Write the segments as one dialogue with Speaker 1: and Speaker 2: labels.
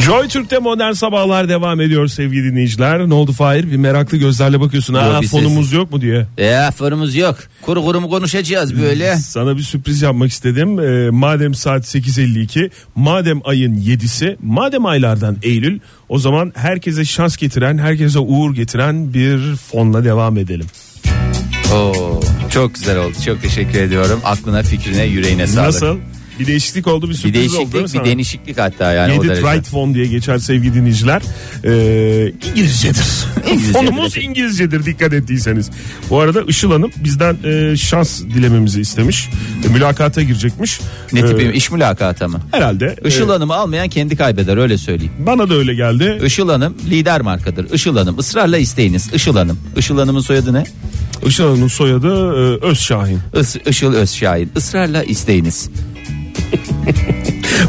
Speaker 1: Joy Türk'te modern sabahlar devam ediyor sevgili dinleyiciler. Ne oldu Fahir? Bir meraklı gözlerle bakıyorsun.
Speaker 2: Yok,
Speaker 1: Aa,
Speaker 2: bir
Speaker 1: fonumuz yok mu diye.
Speaker 2: Ya fırımız E, yok. Kuru kuru mu konuşacağız böyle?
Speaker 1: Sana bir sürpriz yapmak istedim. Ee, madem saat 8.52, madem ayın 7'si, madem aylardan Eylül, o zaman herkese şans getiren, herkese uğur getiren bir fonla devam edelim.
Speaker 2: Hmm. Oo, çok güzel oldu. Çok teşekkür ediyorum. Aklına, fikrine, yüreğine sağlık.
Speaker 1: Nasıl? Bir değişiklik oldu, bir
Speaker 2: Bir
Speaker 1: sürpriz oldu değil mi
Speaker 2: değişiklik,
Speaker 1: sana?
Speaker 2: bir denişiklik hatta yani
Speaker 1: Get
Speaker 2: o
Speaker 1: it
Speaker 2: derece.
Speaker 1: right fon diye geçer sevgili dinleyiciler. Ee, İngilizcedir.
Speaker 2: İngilizcedir.
Speaker 1: Fonumuz İngilizcedir dikkat ettiyseniz. Bu arada Işıl Hanım bizden e, şans dilememizi istemiş. E, mülakata girecekmiş.
Speaker 2: Ne
Speaker 1: Ee,
Speaker 2: tipi iş mülakata mı?
Speaker 1: Herhalde.
Speaker 2: Işıl
Speaker 1: e,
Speaker 2: Hanım'ı almayan kendi kaybeder öyle söyleyeyim.
Speaker 1: bana da öyle geldi.
Speaker 2: Işıl Hanım lider markadır. Işıl Hanım ısrarla isteyiniz. Işıl Hanım. Işıl Hanım'ın soyadı ne?
Speaker 1: Işıl Hanım'ın soyadı e, Özşahin.
Speaker 2: Is, Işıl Özşahin. Israrla isteyiniz.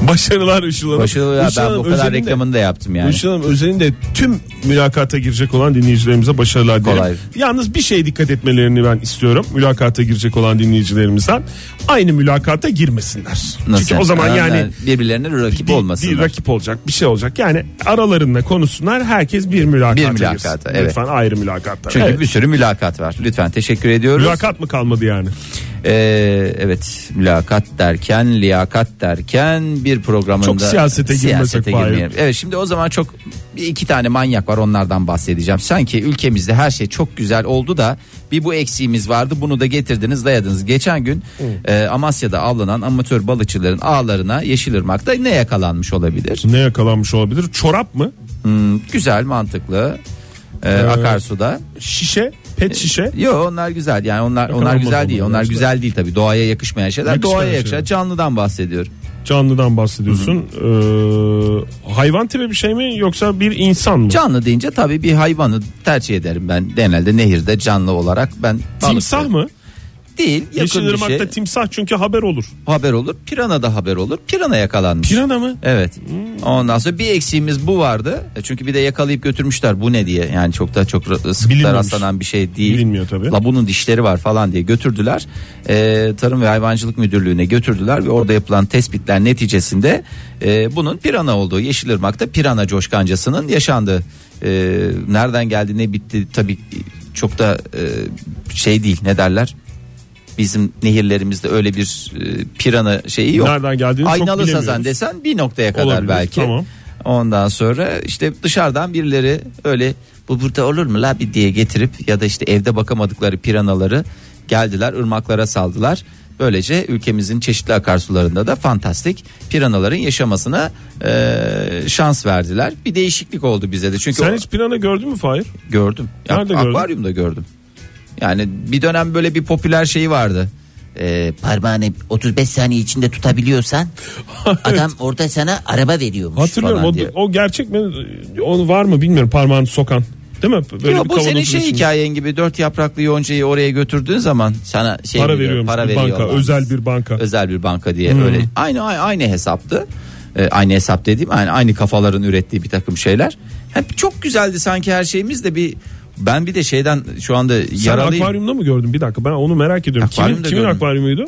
Speaker 1: Başarılar Işıl Hanım.
Speaker 2: Başarılı ya
Speaker 1: Işıl
Speaker 2: ben
Speaker 1: Hanım
Speaker 2: bu kadar
Speaker 1: özelinde-
Speaker 2: reklamını da yaptım yani.
Speaker 1: Işıl Hanım özelinde tüm mülakata girecek olan dinleyicilerimize başarılar dilerim.
Speaker 2: Kolay.
Speaker 1: Yalnız bir şeye dikkat etmelerini ben istiyorum. Mülakata girecek olan dinleyicilerimizden aynı mülakata girmesinler.
Speaker 2: Nasıl
Speaker 1: Çünkü o zaman
Speaker 2: Ha,
Speaker 1: yani
Speaker 2: birbirlerine rakip
Speaker 1: bir, bir
Speaker 2: olmasınlar.
Speaker 1: rakip olacak, bir şey olacak. Yani aralarında konuşsunlar. Herkes bir mülakata,
Speaker 2: Bir mülakata,
Speaker 1: girsin.
Speaker 2: evet.
Speaker 1: Lütfen ayrı mülakatlar.
Speaker 2: Çünkü
Speaker 1: Evet.
Speaker 2: bir sürü mülakat var. Lütfen teşekkür ediyoruz.
Speaker 1: Mülakat mı kalmadı yani?
Speaker 2: Ee, evet mülakat derken liyakat derken bir programında
Speaker 1: Çok siyasete girmesek bari.
Speaker 2: girmeyelim. Evet şimdi o zaman çok bir iki tane manyak var onlardan bahsedeceğim. Sanki ülkemizde her şey çok güzel oldu da bir bu eksiğimiz vardı bunu da getirdiniz dayadınız. Geçen gün e, Amasya'da avlanan amatör balıkçıların ağlarına Yeşilırmak'ta ne yakalanmış olabilir?
Speaker 1: Ne yakalanmış olabilir? Çorap mı?
Speaker 2: Hmm, güzel mantıklı e, akarsuda.
Speaker 1: Şişe?
Speaker 2: E,
Speaker 1: Pet şişe?
Speaker 2: Yo onlar güzel yani onlar onlar
Speaker 1: olmaz
Speaker 2: güzel değil.
Speaker 1: onlar
Speaker 2: Onlar
Speaker 1: güzel.
Speaker 2: güzel değil tabii. Doğaya yakışmayan şeyler.
Speaker 1: Yakışmayan şey.
Speaker 2: Doğaya yakışan
Speaker 1: şeyler.
Speaker 2: canlıdan bahsediyorum.
Speaker 1: Canlıdan bahsediyorsun. Ee, hayvan tipi bir şey mi yoksa bir insan mı?
Speaker 2: Canlı deyince tabii bir hayvanı tercih ederim ben. Genelde nehirde canlı olarak ben balık-
Speaker 1: Timsah mı?
Speaker 2: Değil. Yakın bir şey.
Speaker 1: Yeşilırmak'ta timsah çünkü haber olur.
Speaker 2: haber olur. Pirana da haber olur. Pirana yakalanmış.
Speaker 1: Pirana mı?
Speaker 2: Evet.
Speaker 1: Hmm.
Speaker 2: Ondan sonra bir eksiğimiz bu vardı. E Çünkü bir de yakalayıp götürmüşler bu ne diye. Yani çok da çok ra- sıklıkla
Speaker 1: Bilinmemiş.
Speaker 2: rastlanan bir şey değil.
Speaker 1: Bilinmiyor tabii.
Speaker 2: La bunun dişleri var falan diye götürdüler. E, Tarım ve Hayvancılık Müdürlüğü'ne götürdüler ve orada yapılan tespitler neticesinde e, bunun pirana olduğu Yeşilırmak'ta pirana coşkancasının yaşandığı. E, nereden geldi ne bitti tabii çok da e, şey değil ne derler. Bizim nehirlerimizde öyle bir e, pirana şeyi yok.
Speaker 1: Nereden geldiğini çok
Speaker 2: Aynalı
Speaker 1: bilemiyoruz.
Speaker 2: sazan desen bir noktaya kadar
Speaker 1: Olabilir,
Speaker 2: belki.
Speaker 1: tamam.
Speaker 2: Ondan sonra işte dışarıdan birileri öyle bu burada olur mu la bir diye getirip ya da işte evde bakamadıkları piranaları geldiler ırmaklara saldılar. Böylece ülkemizin çeşitli akarsularında da fantastik piranaların yaşamasına eee, şans verdiler. Bir değişiklik oldu bize de. Çünkü
Speaker 1: Sen
Speaker 2: o-
Speaker 1: hiç pirana gördün mü Fahir?
Speaker 2: Gördüm. Ya,
Speaker 1: Nerede gördün?
Speaker 2: akvaryumda gördüm. Yani bir dönem böyle bir popüler şeyi vardı. Ee, parmağını 35 saniye içinde tutabiliyorsan adam orada sana araba veriyormuş
Speaker 1: Hatırlıyorum
Speaker 2: falan
Speaker 1: o,
Speaker 2: diye.
Speaker 1: o gerçek mi? O var mı bilmiyorum parmağını sokan. Değil mi? Böyle
Speaker 2: Yo, bu senin
Speaker 1: kavanozun
Speaker 2: şey
Speaker 1: içinde
Speaker 2: hikayen gibi dört yapraklı yoncayı oraya götürdüğün zaman sana şey
Speaker 1: Para
Speaker 2: veriyor,
Speaker 1: veriyormuş bir banka,
Speaker 2: veriyorlar.
Speaker 1: özel bir banka. Hmm.
Speaker 2: Özel bir banka diye öyle aynı aynı, aynı hesaptı. Ee, aynı hesap dediğim aynı, aynı kafaların ürettiği bir takım şeyler. Hep çok güzeldi sanki her şeyimiz de bir ben bir de şeyden şu anda
Speaker 1: Sen
Speaker 2: yaralıyım.
Speaker 1: akvaryumda mı gördün? Bir dakika ben onu merak ediyorum. Kimin,
Speaker 2: Akvaryumda
Speaker 1: kimin
Speaker 2: gördüm.
Speaker 1: akvaryumuydu?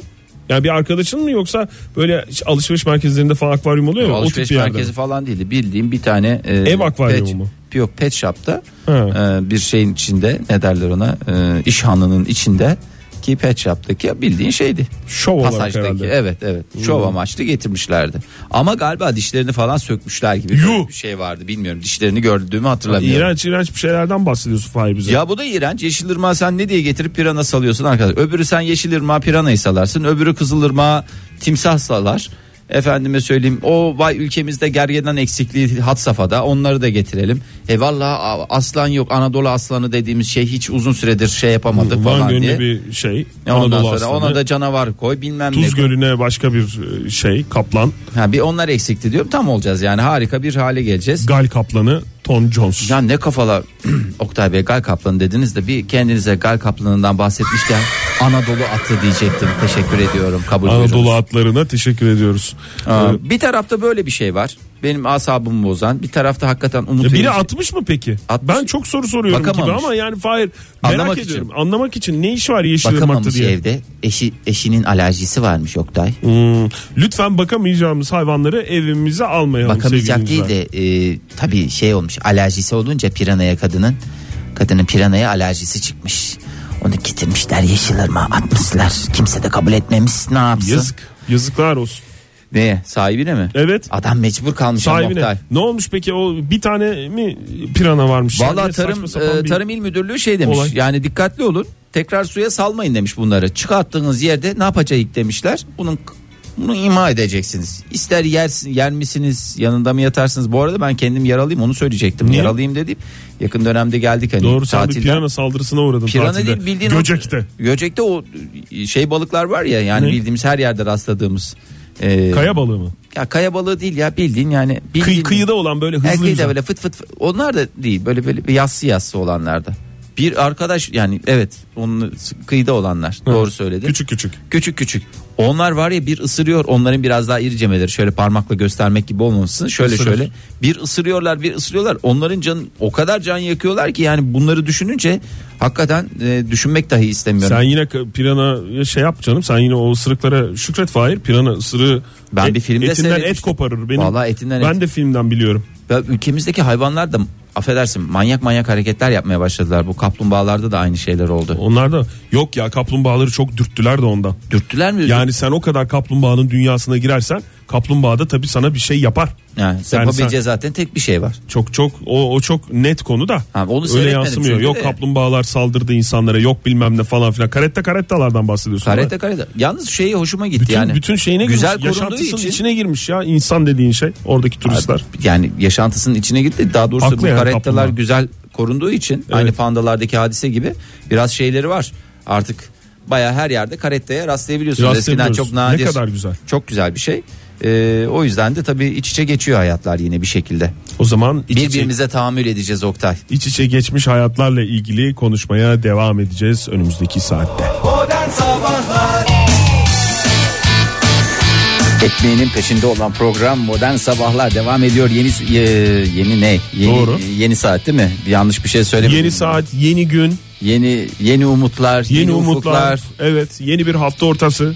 Speaker 1: Yani bir arkadaşın mı yoksa böyle alışveriş merkezlerinde falan akvaryum oluyor mu? O tip
Speaker 2: Alışveriş
Speaker 1: bir yerde.
Speaker 2: merkezi falan değildi. Bildiğim bir tane e,
Speaker 1: Ev akvaryumu
Speaker 2: pet-
Speaker 1: mu?
Speaker 2: Yok pet shop'ta
Speaker 1: Ha.
Speaker 2: e, bir şeyin içinde ne derler ona e, iş hanının içinde ki pet shop'taki bildiğin şeydi.
Speaker 1: Şov olarak
Speaker 2: Pasajdaki
Speaker 1: herhalde. Hmm.
Speaker 2: evet evet şov amaçlı getirmişlerdi. Ama galiba dişlerini falan sökmüşler gibi
Speaker 1: Yuh!
Speaker 2: bir şey vardı bilmiyorum. Dişlerini gördüğümü hatırlamıyorum.
Speaker 1: İğrenç iğrenç bir şeylerden bahsediyorsun Fahir bize.
Speaker 2: Ya bu da iğrenç. Yeşilırmağı sen ne diye getirip pirana salıyorsun arkadaş. Öbürü sen yeşilırmağı piranayı salarsın. Öbürü kızılırmağı timsah salar. Efendime söyleyeyim o vay ülkemizde gergedan eksikliği hat safhada onları da getirelim. E valla aslan yok Anadolu aslanı dediğimiz şey hiç uzun süredir şey yapamadık
Speaker 1: Van
Speaker 2: falan diye.
Speaker 1: Gölü'ne bir şey.
Speaker 2: E ondan
Speaker 1: Anadolu
Speaker 2: sonra
Speaker 1: aslanı.
Speaker 2: ona da canavar koy bilmem ne.
Speaker 1: Tuz
Speaker 2: koy.
Speaker 1: Gölü'ne başka bir e, şey kaplan.
Speaker 2: Ha, bir onlar eksikti diyorum tam olacağız yani harika bir hale geleceğiz.
Speaker 1: Gal kaplanı Tom Jones.
Speaker 2: Ya ne kafalar Oktay Bey Gal Kaplanı dediniz de bir kendinize Gal Kaplanı'ndan bahsetmişken Anadolu atı diyecektim. Teşekkür ediyorum. Kabul
Speaker 1: Anadolu
Speaker 2: buyurunuz.
Speaker 1: atlarına teşekkür ediyoruz.
Speaker 2: Aa,
Speaker 1: Ee,
Speaker 2: bir tarafta böyle bir şey var. benim asabımı bozan bir tarafta hakikaten umut
Speaker 1: Ya Ee, biri
Speaker 2: verici-
Speaker 1: atmış mı peki?
Speaker 2: şey Atmış.
Speaker 1: Ben çok soru soruyorum
Speaker 2: Bakamamış.
Speaker 1: gibi ama yani Fahir merak
Speaker 2: Anlamak
Speaker 1: ediyorum. Anlamak için ne iş var Yeşilırmak'ta
Speaker 3: Bakamamış
Speaker 1: diye.
Speaker 3: evde. Eşi, eşinin alerjisi varmış Oktay.
Speaker 1: Hmm. Lütfen bakamayacağımız hayvanları evimize almayalım.
Speaker 3: Bakamayacak
Speaker 1: sevgili
Speaker 3: değil de e, tabii şey olmuş alerjisi olunca piranaya kadının kadının piranaya alerjisi çıkmış. Onu getirmişler yeşilırma atmışlar. Kimse de kabul etmemiş ne yapsın?
Speaker 1: Yazık. Yazıklar olsun.
Speaker 2: Neye? Sahibine mi?
Speaker 1: Evet.
Speaker 3: Adam mecbur kalmış ama Oktay.
Speaker 1: Sahibine. Ne olmuş peki o bir tane mi pirana varmış?
Speaker 2: Valla
Speaker 1: Yani
Speaker 2: tarım
Speaker 1: saçma sapan
Speaker 2: e,
Speaker 1: bir-
Speaker 2: tarım il müdürlüğü şey demiş.
Speaker 1: Olay.
Speaker 2: Yani dikkatli olun. Tekrar suya salmayın demiş bunları. Çıkarttığınız yerde ne yapacağız demişler. Bunun bunu ima edeceksiniz. İster yersin, yer misiniz, yanında mı yatarsınız? Bu arada ben kendim yaralıyım onu söyleyecektim.
Speaker 1: Niye?
Speaker 2: Yaralıyım dediğim. Yakın dönemde geldik hani
Speaker 1: Doğru sen bir
Speaker 2: tatilden.
Speaker 1: pirana saldırısına uğradın
Speaker 2: Pirana
Speaker 1: tatilde.
Speaker 2: değil bildiğin
Speaker 1: Göcek'te.
Speaker 2: O, Göcek'te o şey balıklar var ya yani
Speaker 1: Ne?
Speaker 2: bildiğimiz her yerde rastladığımız. e,
Speaker 1: Kaya balığı mı?
Speaker 2: ya kaya balığı değil ya bildiğin yani bildiğin
Speaker 1: Kıy, kıyıda olan böyle hızlı
Speaker 2: Erkeği de
Speaker 1: yüzen.
Speaker 2: böyle fıt fıt fıt. Onlar da değil böyle böyle bir yassı yassı olanlarda. Bir arkadaş yani evet onun kıyıda olanlar doğru söyledin. Küçük.
Speaker 1: Küçük küçük.
Speaker 2: küçük Onlar var ya bir ısırıyor onların biraz daha iri cemeleri şöyle parmakla göstermek gibi olmasın şöyle
Speaker 1: Isırır.
Speaker 2: şöyle bir ısırıyorlar bir ısırıyorlar onların canı o kadar can yakıyorlar ki yani bunları düşününce hakikaten e, düşünmek dahi istemiyorum.
Speaker 1: Sen yine k- pirana şey yap canım. Sen yine o ısırıklara şükret Fahir. Pirana ısırığı
Speaker 2: Ben
Speaker 1: et-
Speaker 2: bir filmde
Speaker 1: etinden et
Speaker 2: seyretmiştim.
Speaker 1: koparır. Benim,
Speaker 2: Vallahi etinden
Speaker 1: ben
Speaker 2: et.
Speaker 1: de filmden biliyorum.
Speaker 2: Ya ülkemizdeki hayvanlar da affedersin manyak manyak hareketler yapmaya başladılar bu kaplumbağalarda da aynı şeyler oldu.
Speaker 1: Onlar da yok ya kaplumbağaları çok dürttüler de ondan.
Speaker 2: Dürttüler mi?
Speaker 1: Yani sen o kadar kaplumbağanın dünyasına girersen kaplumbağa da tabii sana bir şey yapar.
Speaker 2: Yani
Speaker 1: sen-
Speaker 2: yapabileceği zaten tek bir şey var.
Speaker 1: Çok çok o, o çok net konu da.
Speaker 2: Ha, onu
Speaker 1: Öyle
Speaker 2: seyretmedim
Speaker 1: yansımıyor.
Speaker 2: çünkü
Speaker 1: Yok
Speaker 2: de.
Speaker 1: kaplumbağalar saldırdı insanlara. Yok bilmem ne falan filan. Karette karettalardan bahsediyorsun.
Speaker 2: Karate karate. Yalnız şeyi hoşuma gitti
Speaker 1: bütün,
Speaker 2: yani.
Speaker 1: bütün şeyine
Speaker 2: güzel
Speaker 1: girmiş.
Speaker 2: korunduğu
Speaker 1: Yaşantısının
Speaker 2: için.
Speaker 1: içine girmiş ya insan dediğin şey. Oradaki turistler.
Speaker 2: Yani yaşantısının içine gitti. Daha doğrusu
Speaker 1: Haklı
Speaker 2: bu
Speaker 1: yani
Speaker 2: karettalar
Speaker 1: kaplumbağa.
Speaker 2: güzel korunduğu için aynı pandalardaki hadise gibi biraz şeyleri var. Artık baya her yerde karettaya rastlayabiliyorsunuz. Eskiden
Speaker 1: Rastlayabiliyoruz.
Speaker 2: çok nadir.
Speaker 1: Ne kadar güzel.
Speaker 2: Çok güzel bir şey. Ee, o yüzden de tabii iç içe geçiyor hayatlar yine bir şekilde.
Speaker 1: O zaman iç içe,
Speaker 2: Birbirimize tahammül edeceğiz Oktay.
Speaker 1: iç içe geçmiş hayatlarla ilgili konuşmaya devam edeceğiz önümüzdeki saatte.
Speaker 2: Ekmeğinin peşinde olan program Modern Sabahlar devam ediyor. Yeni e, yeni ne? Yeni,
Speaker 1: Doğru.
Speaker 2: Yeni saat değil mi? Yanlış bir şey söylemedim.
Speaker 1: Yeni saat, yeni gün,
Speaker 2: Yeni yeni umutlar, yeni,
Speaker 1: yeni, umutlar.
Speaker 2: ufuklar.
Speaker 1: Evet, yeni bir hafta ortası.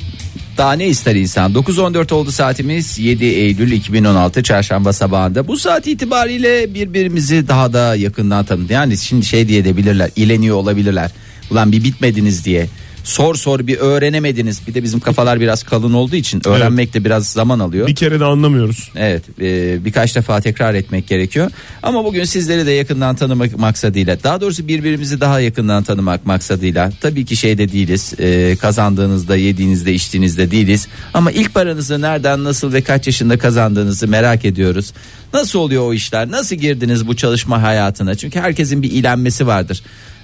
Speaker 2: Daha ne ister insan? 9.14 oldu saatimiz. 7 Eylül 2016 çarşamba sabahında. Bu saat itibariyle birbirimizi daha da yakından tanıdık. Yani şimdi şey diye de bilirler. ileniyor olabilirler. Ulan bir bitmediniz diye. Sor sor bir öğrenemediniz. Bir de bizim kafalar biraz kalın olduğu için öğrenmek de biraz zaman alıyor.
Speaker 1: Bir kere de anlamıyoruz.
Speaker 2: Evet e, birkaç defa tekrar etmek gerekiyor. Ama bugün sizleri de yakından tanımak maksadıyla daha doğrusu birbirimizi daha yakından tanımak maksadıyla tabii ki şeyde değiliz e, kazandığınızda yediğinizde içtiğinizde değiliz. Ama ilk paranızı nereden nasıl ve kaç yaşında kazandığınızı merak ediyoruz. Nasıl oluyor o işler nasıl girdiniz bu çalışma hayatına çünkü herkesin bir ilenmesi vardır.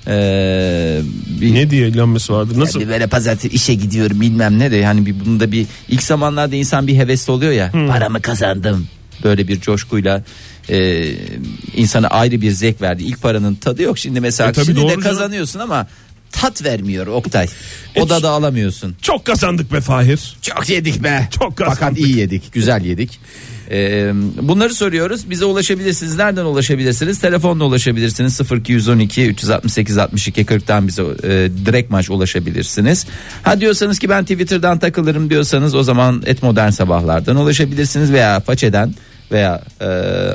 Speaker 2: Ee, bir,
Speaker 1: Ne diye ilanması vardı? Nasıl?
Speaker 2: yani böyle pazartesi işe gidiyorum bilmem ne de yani bir bunda bir ilk zamanlarda insan bir hevesli oluyor ya paramı kazandım böyle bir coşkuyla e, insana ayrı bir zevk verdi. İlk paranın tadı yok şimdi mesela
Speaker 1: E tabii
Speaker 2: şimdi
Speaker 1: doğru
Speaker 2: de
Speaker 1: canım.
Speaker 2: kazanıyorsun ama tat vermiyor Oktay. O
Speaker 1: E
Speaker 2: da
Speaker 1: şu-
Speaker 2: da alamıyorsun.
Speaker 1: Çok kazandık be Fahir.
Speaker 2: Çok yedik be.
Speaker 1: Çok kazandık.
Speaker 2: Fakat iyi yedik, güzel yedik. Ee, bunları soruyoruz. Bize ulaşabilirsiniz. Nereden ulaşabilirsiniz? Telefonla ulaşabilirsiniz. 0212 368 62 40'tan bize e, direkt maç ulaşabilirsiniz. Ha diyorsanız ki ben Twitter'dan takılırım diyorsanız o zaman et modern sabahlardan ulaşabilirsiniz veya façeden veya e,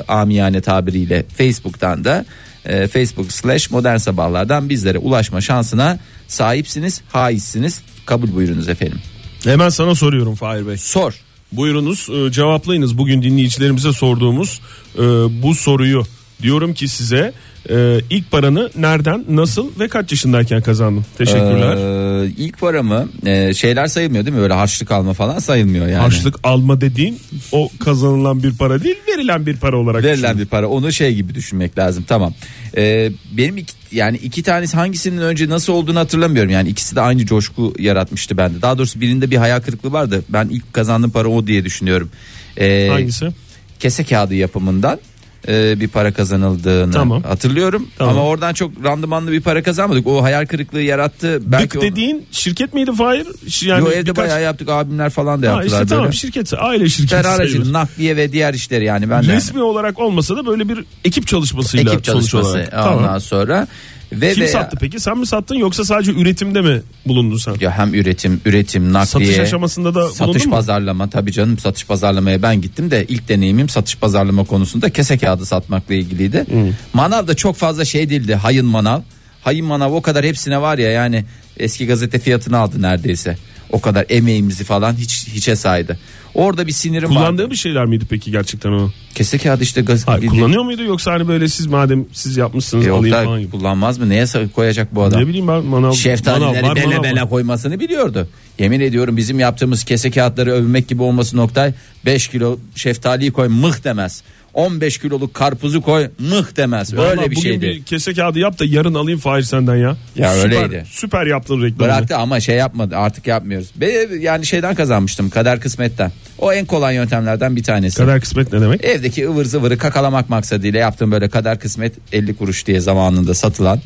Speaker 2: amiyane tabiriyle Facebook'tan da e, Facebook slash modern sabahlardan bizlere ulaşma şansına sahipsiniz, haizsiniz. Kabul buyurunuz efendim.
Speaker 1: Hemen sana soruyorum Fahir Bey.
Speaker 2: Sor.
Speaker 1: Buyurunuz e, cevaplayınız bugün dinleyicilerimize sorduğumuz e, bu soruyu. Diyorum ki size e, ilk paranı nereden, nasıl ve kaç yaşındayken kazandın? Teşekkürler.
Speaker 2: Ee, ilk paramı e, şeyler sayılmıyor değil mi? Böyle harçlık alma falan sayılmıyor yani.
Speaker 1: Harçlık alma dediğin o kazanılan bir para değil verilen bir para olarak
Speaker 2: verilen bir para onu şey gibi düşünmek lazım tamam Ee, benim iki, yani iki tanesi hangisinin önce nasıl olduğunu hatırlamıyorum yani ikisi de aynı coşku yaratmıştı bende daha doğrusu birinde bir hayal kırıklığı vardı ben ilk kazandığım para o diye düşünüyorum Ee,
Speaker 1: Hangisi?
Speaker 2: kese kağıdı yapımından e, bir para kazanıldığını
Speaker 1: Tamam.
Speaker 2: hatırlıyorum.
Speaker 1: Tamam.
Speaker 2: Ama oradan çok randımanlı bir para kazanmadık. O hayal kırıklığı yarattı. Belki
Speaker 1: Dık
Speaker 2: onu-
Speaker 1: dediğin şirket miydi Fahir? Ş- Yani
Speaker 2: Yo, evde
Speaker 1: birkaç-
Speaker 2: bayağı yaptık abimler falan da
Speaker 1: Ha,
Speaker 2: yaptılar
Speaker 1: işte tamam
Speaker 2: böyle.
Speaker 1: şirket aile şirketi sayılır.
Speaker 2: Ferrari'cinin nakliye ve diğer işleri yani ben de
Speaker 1: Resmi olarak olmasa da böyle bir ekip çalışmasıyla
Speaker 2: ekip çalışması
Speaker 1: sonuç olarak.
Speaker 2: ondan
Speaker 1: Tamam.
Speaker 2: sonra ve
Speaker 1: Kim
Speaker 2: ve-
Speaker 1: sattı peki? Sen mi sattın yoksa sadece üretimde mi bulundun sen?
Speaker 2: Ya hem üretim, üretim, nakliye.
Speaker 1: Satış aşamasında da bulundun
Speaker 2: satış
Speaker 1: mu?
Speaker 2: pazarlama tabii canım satış pazarlamaya ben gittim de ilk deneyimim satış pazarlama konusunda kese kağıdı satmakla ilgiliydi.
Speaker 1: Hmm.
Speaker 2: Manav da çok fazla şey değildi. Hayın manav. Hayın manav o kadar hepsine var ya yani eski gazete fiyatını aldı neredeyse. O kadar emeğimizi falan hiç hiçe saydı. Orada bir sinirim vardı. E,
Speaker 1: Kullandığı bir şeyler miydi peki gerçekten o?
Speaker 2: Kese kağıdı işte gazete.
Speaker 1: Hayır, kullanıyor muydu yoksa hani böyle siz madem siz yapmışsınız
Speaker 2: Yok
Speaker 1: alayım
Speaker 2: da
Speaker 1: falan gibi.
Speaker 2: kullanmaz mı? Neye sa- koyacak bu adam?
Speaker 1: Ne bileyim ben manav
Speaker 2: Şeftalileri
Speaker 1: manav var,
Speaker 2: bele
Speaker 1: manav
Speaker 2: bele
Speaker 1: var.
Speaker 2: koymasını biliyordu. Yemin ediyorum bizim yaptığımız kese kağıtları övmek gibi olması noktay 5 kilo şeftaliyi koy mıh demez. 15 kiloluk karpuzu koy mıh demez.
Speaker 1: Vallahi
Speaker 2: Öyle bir
Speaker 1: bugün
Speaker 2: şeydi.
Speaker 1: bir kese kağıdı yap da yarın alayım Fahir senden ya.
Speaker 2: Ya
Speaker 1: süper,
Speaker 2: öyleydi.
Speaker 1: Süper yaptın reklamını.
Speaker 2: Bıraktı ama şey yapmadı artık yapmıyoruz. Ve yani şeyden kazanmıştım kader kısmetten. O en kolay yöntemlerden bir tanesi.
Speaker 1: Kader kısmet ne demek?
Speaker 2: Evdeki ıvır zıvırı kakalamak maksadıyla yaptığım böyle kader kısmet 50 kuruş diye zamanında satılan.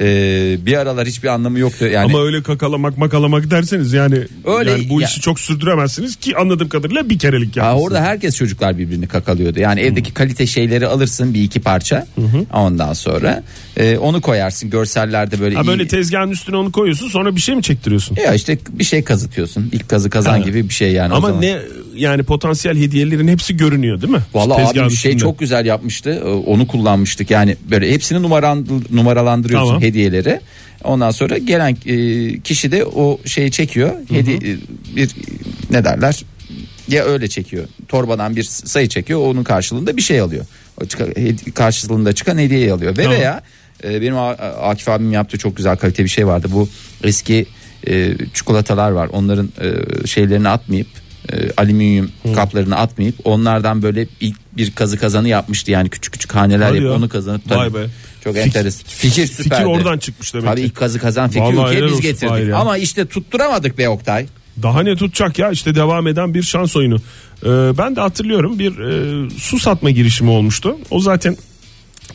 Speaker 2: Ee, bir aralar hiçbir anlamı yoktu. Yani
Speaker 1: Ama öyle kakalamak makalamak derseniz yani,
Speaker 2: Öyle-
Speaker 1: yani bu
Speaker 2: ya-
Speaker 1: işi çok sürdüremezsiniz ki anladığım kadarıyla bir kerelik
Speaker 2: Ha,
Speaker 1: yani.
Speaker 2: orada herkes çocuklar birbirini kakalıyordu. Yani evdeki kalite şeyleri alırsın bir iki parça. Ondan sonra e, onu koyarsın görsellerde böyle
Speaker 1: Ha
Speaker 2: iyi.
Speaker 1: böyle tezgahın üstüne onu koyuyorsun sonra bir şey mi çektiriyorsun?
Speaker 2: ya işte bir şey kazıtıyorsun. İlk kazı kazan
Speaker 1: Ha.
Speaker 2: gibi bir şey yani o
Speaker 1: Ama
Speaker 2: zaman.
Speaker 1: ne yani potansiyel hediyelerin hepsi görünüyor değil mi?
Speaker 2: Valla
Speaker 1: Tezgahın
Speaker 2: abi bir şey
Speaker 1: üstünde.
Speaker 2: çok güzel yapmıştı. Ee, Onu kullanmıştık. Yani böyle hepsini numaran, numaralandırıyorsun
Speaker 1: Tamam.
Speaker 2: hediyeleri. Ondan sonra gelen e, kişi de o şeyi çekiyor. Hediye e, bir ne derler? Ya öyle çekiyor. Torbadan bir sayı çekiyor. Onun karşılığında bir şey alıyor. O çıkan, hedi- karşılığında çıkan hediyeyi alıyor. Ve
Speaker 1: Tamam.
Speaker 2: veya e, benim A- A- Akif abim yaptığı çok güzel kalite bir şey vardı. Bu eski e, çikolatalar var. Onların e, şeylerini atmayıp e, alüminyum kaplarını atmayıp onlardan böyle ilk bir kazı kazanı yapmıştı. Yani küçük küçük haneler
Speaker 1: Hadi
Speaker 2: yapıp
Speaker 1: ya.
Speaker 2: onu kazanıp
Speaker 1: Vay be.
Speaker 2: çok
Speaker 1: Fik-
Speaker 2: enteresan. Fikir
Speaker 1: fikir
Speaker 2: süperdi.
Speaker 1: oradan çıkmış demek
Speaker 2: Tabii
Speaker 1: ki.
Speaker 2: ilk kazı kazan fikri
Speaker 1: Vallahi
Speaker 2: ülkeye
Speaker 1: helal
Speaker 2: biz
Speaker 1: olsun Fahir
Speaker 2: getirdik.
Speaker 1: ya.
Speaker 2: Ama işte tutturamadık be Oktay.
Speaker 1: Daha ne tutacak ya işte devam eden bir şans oyunu. Ee, ben de hatırlıyorum bir e, su satma girişimi olmuştu. O zaten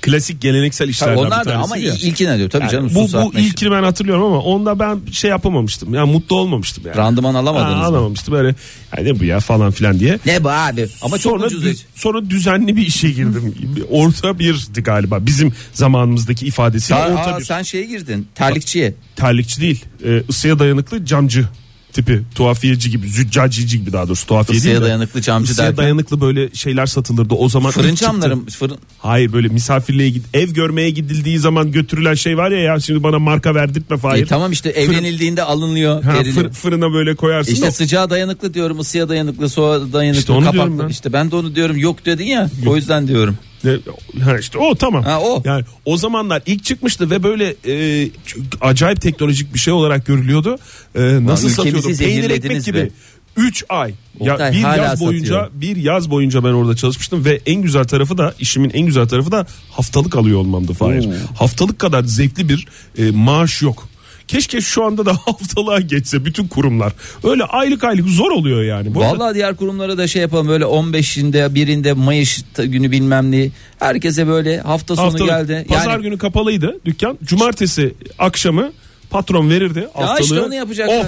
Speaker 1: klasik geleneksel
Speaker 2: Tabii
Speaker 1: işlerden
Speaker 2: onlar
Speaker 1: bir
Speaker 2: da
Speaker 1: tanesi
Speaker 2: ama
Speaker 1: ya.
Speaker 2: ilkine diyor. Tabii
Speaker 1: Yani
Speaker 2: canım
Speaker 1: bu,
Speaker 2: sus
Speaker 1: bu
Speaker 2: atma işi.
Speaker 1: ilkini ben hatırlıyorum ama onda ben şey yapamamıştım. Yani mutlu olmamıştım yani.
Speaker 2: Randıman alamadınız
Speaker 1: Ha,
Speaker 2: mı?
Speaker 1: alamamıştım böyle. Yani ne bu ya falan filan diye.
Speaker 2: Ne bu abi? Ama çok
Speaker 1: sonra,
Speaker 2: ucuz.
Speaker 1: dü- sonra düzenli bir işe girdim. Bir Orta birdi galiba bizim zamanımızdaki ifadesiyle
Speaker 2: Sen,
Speaker 1: orta
Speaker 2: aa,
Speaker 1: bir.
Speaker 2: sen şeye girdin. Terlikçiye.
Speaker 1: Terlikçi değil e, ısıya dayanıklı camcı tipi tuhafiyeci gibi züccaciyeci gibi daha doğrusu tuhafiye
Speaker 2: Isıya
Speaker 1: değil de.
Speaker 2: dayanıklı camcı
Speaker 1: Isıya
Speaker 2: derken?
Speaker 1: dayanıklı böyle şeyler satılırdı o zaman.
Speaker 2: Fırın
Speaker 1: ilk çıktı.
Speaker 2: camları mı? Fırın... E,
Speaker 1: Hayır böyle misafirliğe git ev görmeye gidildiği zaman götürülen şey var ya ya şimdi bana marka verdirtme Fahir.
Speaker 2: E, tamam işte evlenildiğinde alınıyor.
Speaker 1: Ha,
Speaker 2: veriliyor.
Speaker 1: fır- fırına böyle koyarsın
Speaker 2: İşte
Speaker 1: da
Speaker 2: sıcağa dayanıklı diyorum, ısıya dayanıklı, soğuğa dayanıklı,
Speaker 1: İşte onu diyorum
Speaker 2: kapaklı.
Speaker 1: ben.
Speaker 2: İşte ben de onu diyorum. Yok dedin ya. O yüzden diyorum.
Speaker 1: Ne- Ha işte o tamam.
Speaker 2: Ha, o.
Speaker 1: Yani o zamanlar ilk çıkmıştı ve böyle e, çok acayip teknolojik bir şey olarak görülüyordu. E, nasıl
Speaker 2: ülkemizi
Speaker 1: satıyordu? Peynir ekmek
Speaker 2: zehirlediniz be.
Speaker 1: gibi. 3 ay.
Speaker 2: Oktay
Speaker 1: ya bir
Speaker 2: hala
Speaker 1: yaz boyunca
Speaker 2: satıyor.
Speaker 1: bir yaz boyunca ben orada çalışmıştım ve en güzel tarafı da işimin en güzel tarafı da haftalık alıyor olmamdı Fahir. Haftalık kadar zevkli bir e, maaş yok. Keşke şu anda da haftalığa geçse bütün kurumlar. Öyle aylık aylık zor oluyor yani. Bu arada-
Speaker 2: Vallahi diğer kurumlara da şey yapalım böyle 15'inde birinde Mayıs t- günü bilmem ne herkese böyle hafta sonu
Speaker 1: Haftalık.
Speaker 2: geldi.
Speaker 1: Pazar
Speaker 2: yani
Speaker 1: günü kapalıydı dükkan. Cumartesi akşamı patron verirdi haftalığı.
Speaker 2: işte onu yapacaktı.
Speaker 1: Of.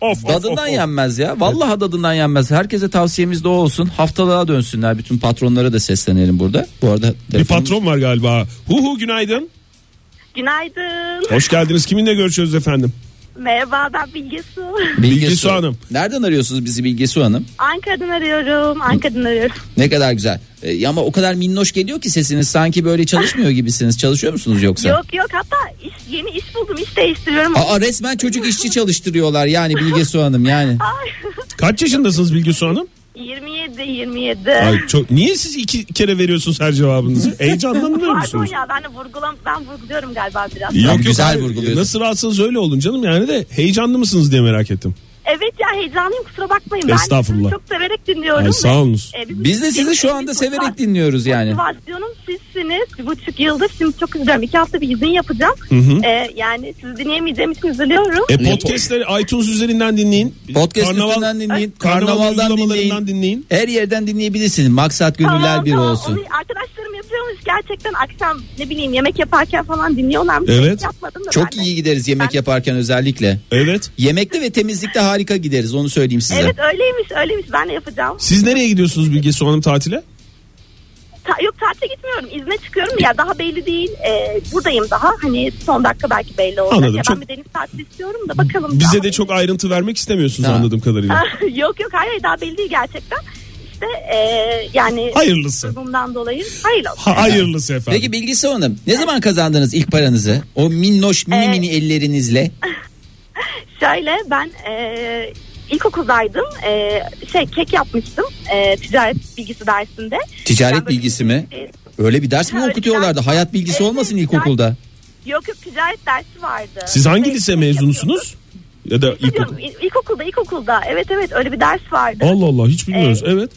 Speaker 1: Of, of,
Speaker 2: dadından
Speaker 1: of, of.
Speaker 2: yenmez ya. Vallahi dadından yenmez. Herkese tavsiyemiz de o olsun. Haftalığa dönsünler. Bütün patronlara da seslenelim burada. Bu arada
Speaker 1: Bir
Speaker 2: telefonumuz-
Speaker 1: patron var galiba. Hu hu günaydın.
Speaker 4: Günaydın.
Speaker 1: Hoş geldiniz. Kiminle görüşüyoruz efendim?
Speaker 4: Merhaba ben Bilge Su.
Speaker 1: Bilgesu Hanım.
Speaker 2: Nereden arıyorsunuz bizi Bilgesu Hanım?
Speaker 4: Ankara'dan arıyorum. Ankara'dan arıyorum.
Speaker 2: Ne kadar güzel. Ee, ama o kadar minnoş geliyor ki sesiniz sanki böyle çalışmıyor gibisiniz. Çalışıyor musunuz yoksa?
Speaker 4: Yok yok hatta iş, yeni iş buldum. iş değiştiriyorum.
Speaker 2: Aa resmen çocuk işçi çalıştırıyorlar yani Bilgesu Hanım yani.
Speaker 4: Ay,
Speaker 1: Kaç yaşındasınız Bilgesu Hanım?
Speaker 4: 27 27.
Speaker 1: Ay, çok, niye siz iki kere veriyorsunuz her cevabınızı? Heyecanlanmıyor
Speaker 4: Pardon
Speaker 1: musunuz?
Speaker 4: ya ben de vurgulam ben vurguluyorum galiba biraz.
Speaker 1: Yok,
Speaker 2: Tam güzel
Speaker 1: hayır.
Speaker 2: vurguluyorsun.
Speaker 1: Nasıl rahatsınız öyle olun canım yani de heyecanlı mısınız diye merak ettim.
Speaker 4: Evet ya heyecanlıyım kusura bakmayın. Ben
Speaker 1: Estağfurullah.
Speaker 4: sizi çok severek dinliyorum.
Speaker 1: Ay, sağ olunuz.
Speaker 4: Ve, e, bizim-
Speaker 2: Biz de sizi şu anda severek dinliyoruz yani.
Speaker 4: Motivasyonum sizsiniz. Bir buçuk yıldır şimdi çok üzülüyorum. İki hafta bir izin yapacağım. E, yani sizi dinleyemeyeceğim için üzülüyorum.
Speaker 1: E, podcastleri iTunes üzerinden dinleyin.
Speaker 2: Podcast
Speaker 1: Karnaval-
Speaker 2: üstünden dinleyin,
Speaker 1: Karnaval
Speaker 2: karnavaldan
Speaker 1: uygulamalarından
Speaker 2: dinleyin.
Speaker 1: dinleyin.
Speaker 2: Her yerden dinleyebilirsiniz. Maksat gönüller
Speaker 4: Tamam,
Speaker 2: bir
Speaker 4: tamam,
Speaker 2: olsun.
Speaker 4: onu Arkadaşlarım dinliyormuş gerçekten akşam ne bileyim yemek yaparken falan dinliyorlarmış.
Speaker 1: Evet.
Speaker 4: Hiç yapmadım da
Speaker 2: Çok
Speaker 4: ben de.
Speaker 2: iyi gideriz yemek yaparken özellikle.
Speaker 1: Evet.
Speaker 2: Yemekte ve temizlikte harika gideriz onu söyleyeyim size.
Speaker 4: Evet öyleymiş öyleymiş ben de yapacağım.
Speaker 1: Siz nereye gidiyorsunuz Bilge Su Hanım tatile?
Speaker 4: Ta- yok tatile gitmiyorum izne çıkıyorum ya daha belli değil. Ee, buradayım daha hani son dakika belki belli olacak.
Speaker 1: Anladım,
Speaker 4: Ya
Speaker 1: çok-
Speaker 4: Ben bir deniz tatili istiyorum da bakalım.
Speaker 1: Bize
Speaker 4: Daha
Speaker 1: de çok
Speaker 4: belli-
Speaker 1: ayrıntı vermek istemiyorsunuz
Speaker 2: Ha.
Speaker 1: anladığım kadarıyla.
Speaker 4: yok yok hayır daha belli değil gerçekten. İşte ee, yani.
Speaker 1: Hayırlısı.
Speaker 4: Bundan dolayı hayırlı olsun.
Speaker 1: Ha, hayırlısı efendim.
Speaker 2: Peki Bilgisi Hanım ne zaman kazandınız ilk paranızı? O minnoş mini
Speaker 4: Ee,
Speaker 2: mini ellerinizle.
Speaker 4: Şöyle ben e, ilkokuldaydım. E, şey kek yapmıştım e, ticaret bilgisi dersinde.
Speaker 2: Ticaret
Speaker 4: Ben böyle-
Speaker 2: bilgisi mi?
Speaker 4: E,
Speaker 2: Öyle bir ders mi
Speaker 4: Öyle
Speaker 2: okutuyorlardı?
Speaker 4: ders-
Speaker 2: Hayat bilgisi
Speaker 4: Evet,
Speaker 2: olmasın
Speaker 4: evet,
Speaker 2: ilkokulda.
Speaker 4: yok yok ticaret dersi vardı.
Speaker 1: Siz hangi
Speaker 4: Şey,
Speaker 1: lise
Speaker 4: kek
Speaker 1: mezunusunuz? Ya da ilkokul.
Speaker 4: yapıyorduk. İl- İlkokulda ilkokulda evet evet öyle bir ders vardı.
Speaker 1: Allah Allah hiç bilmiyoruz. Evet.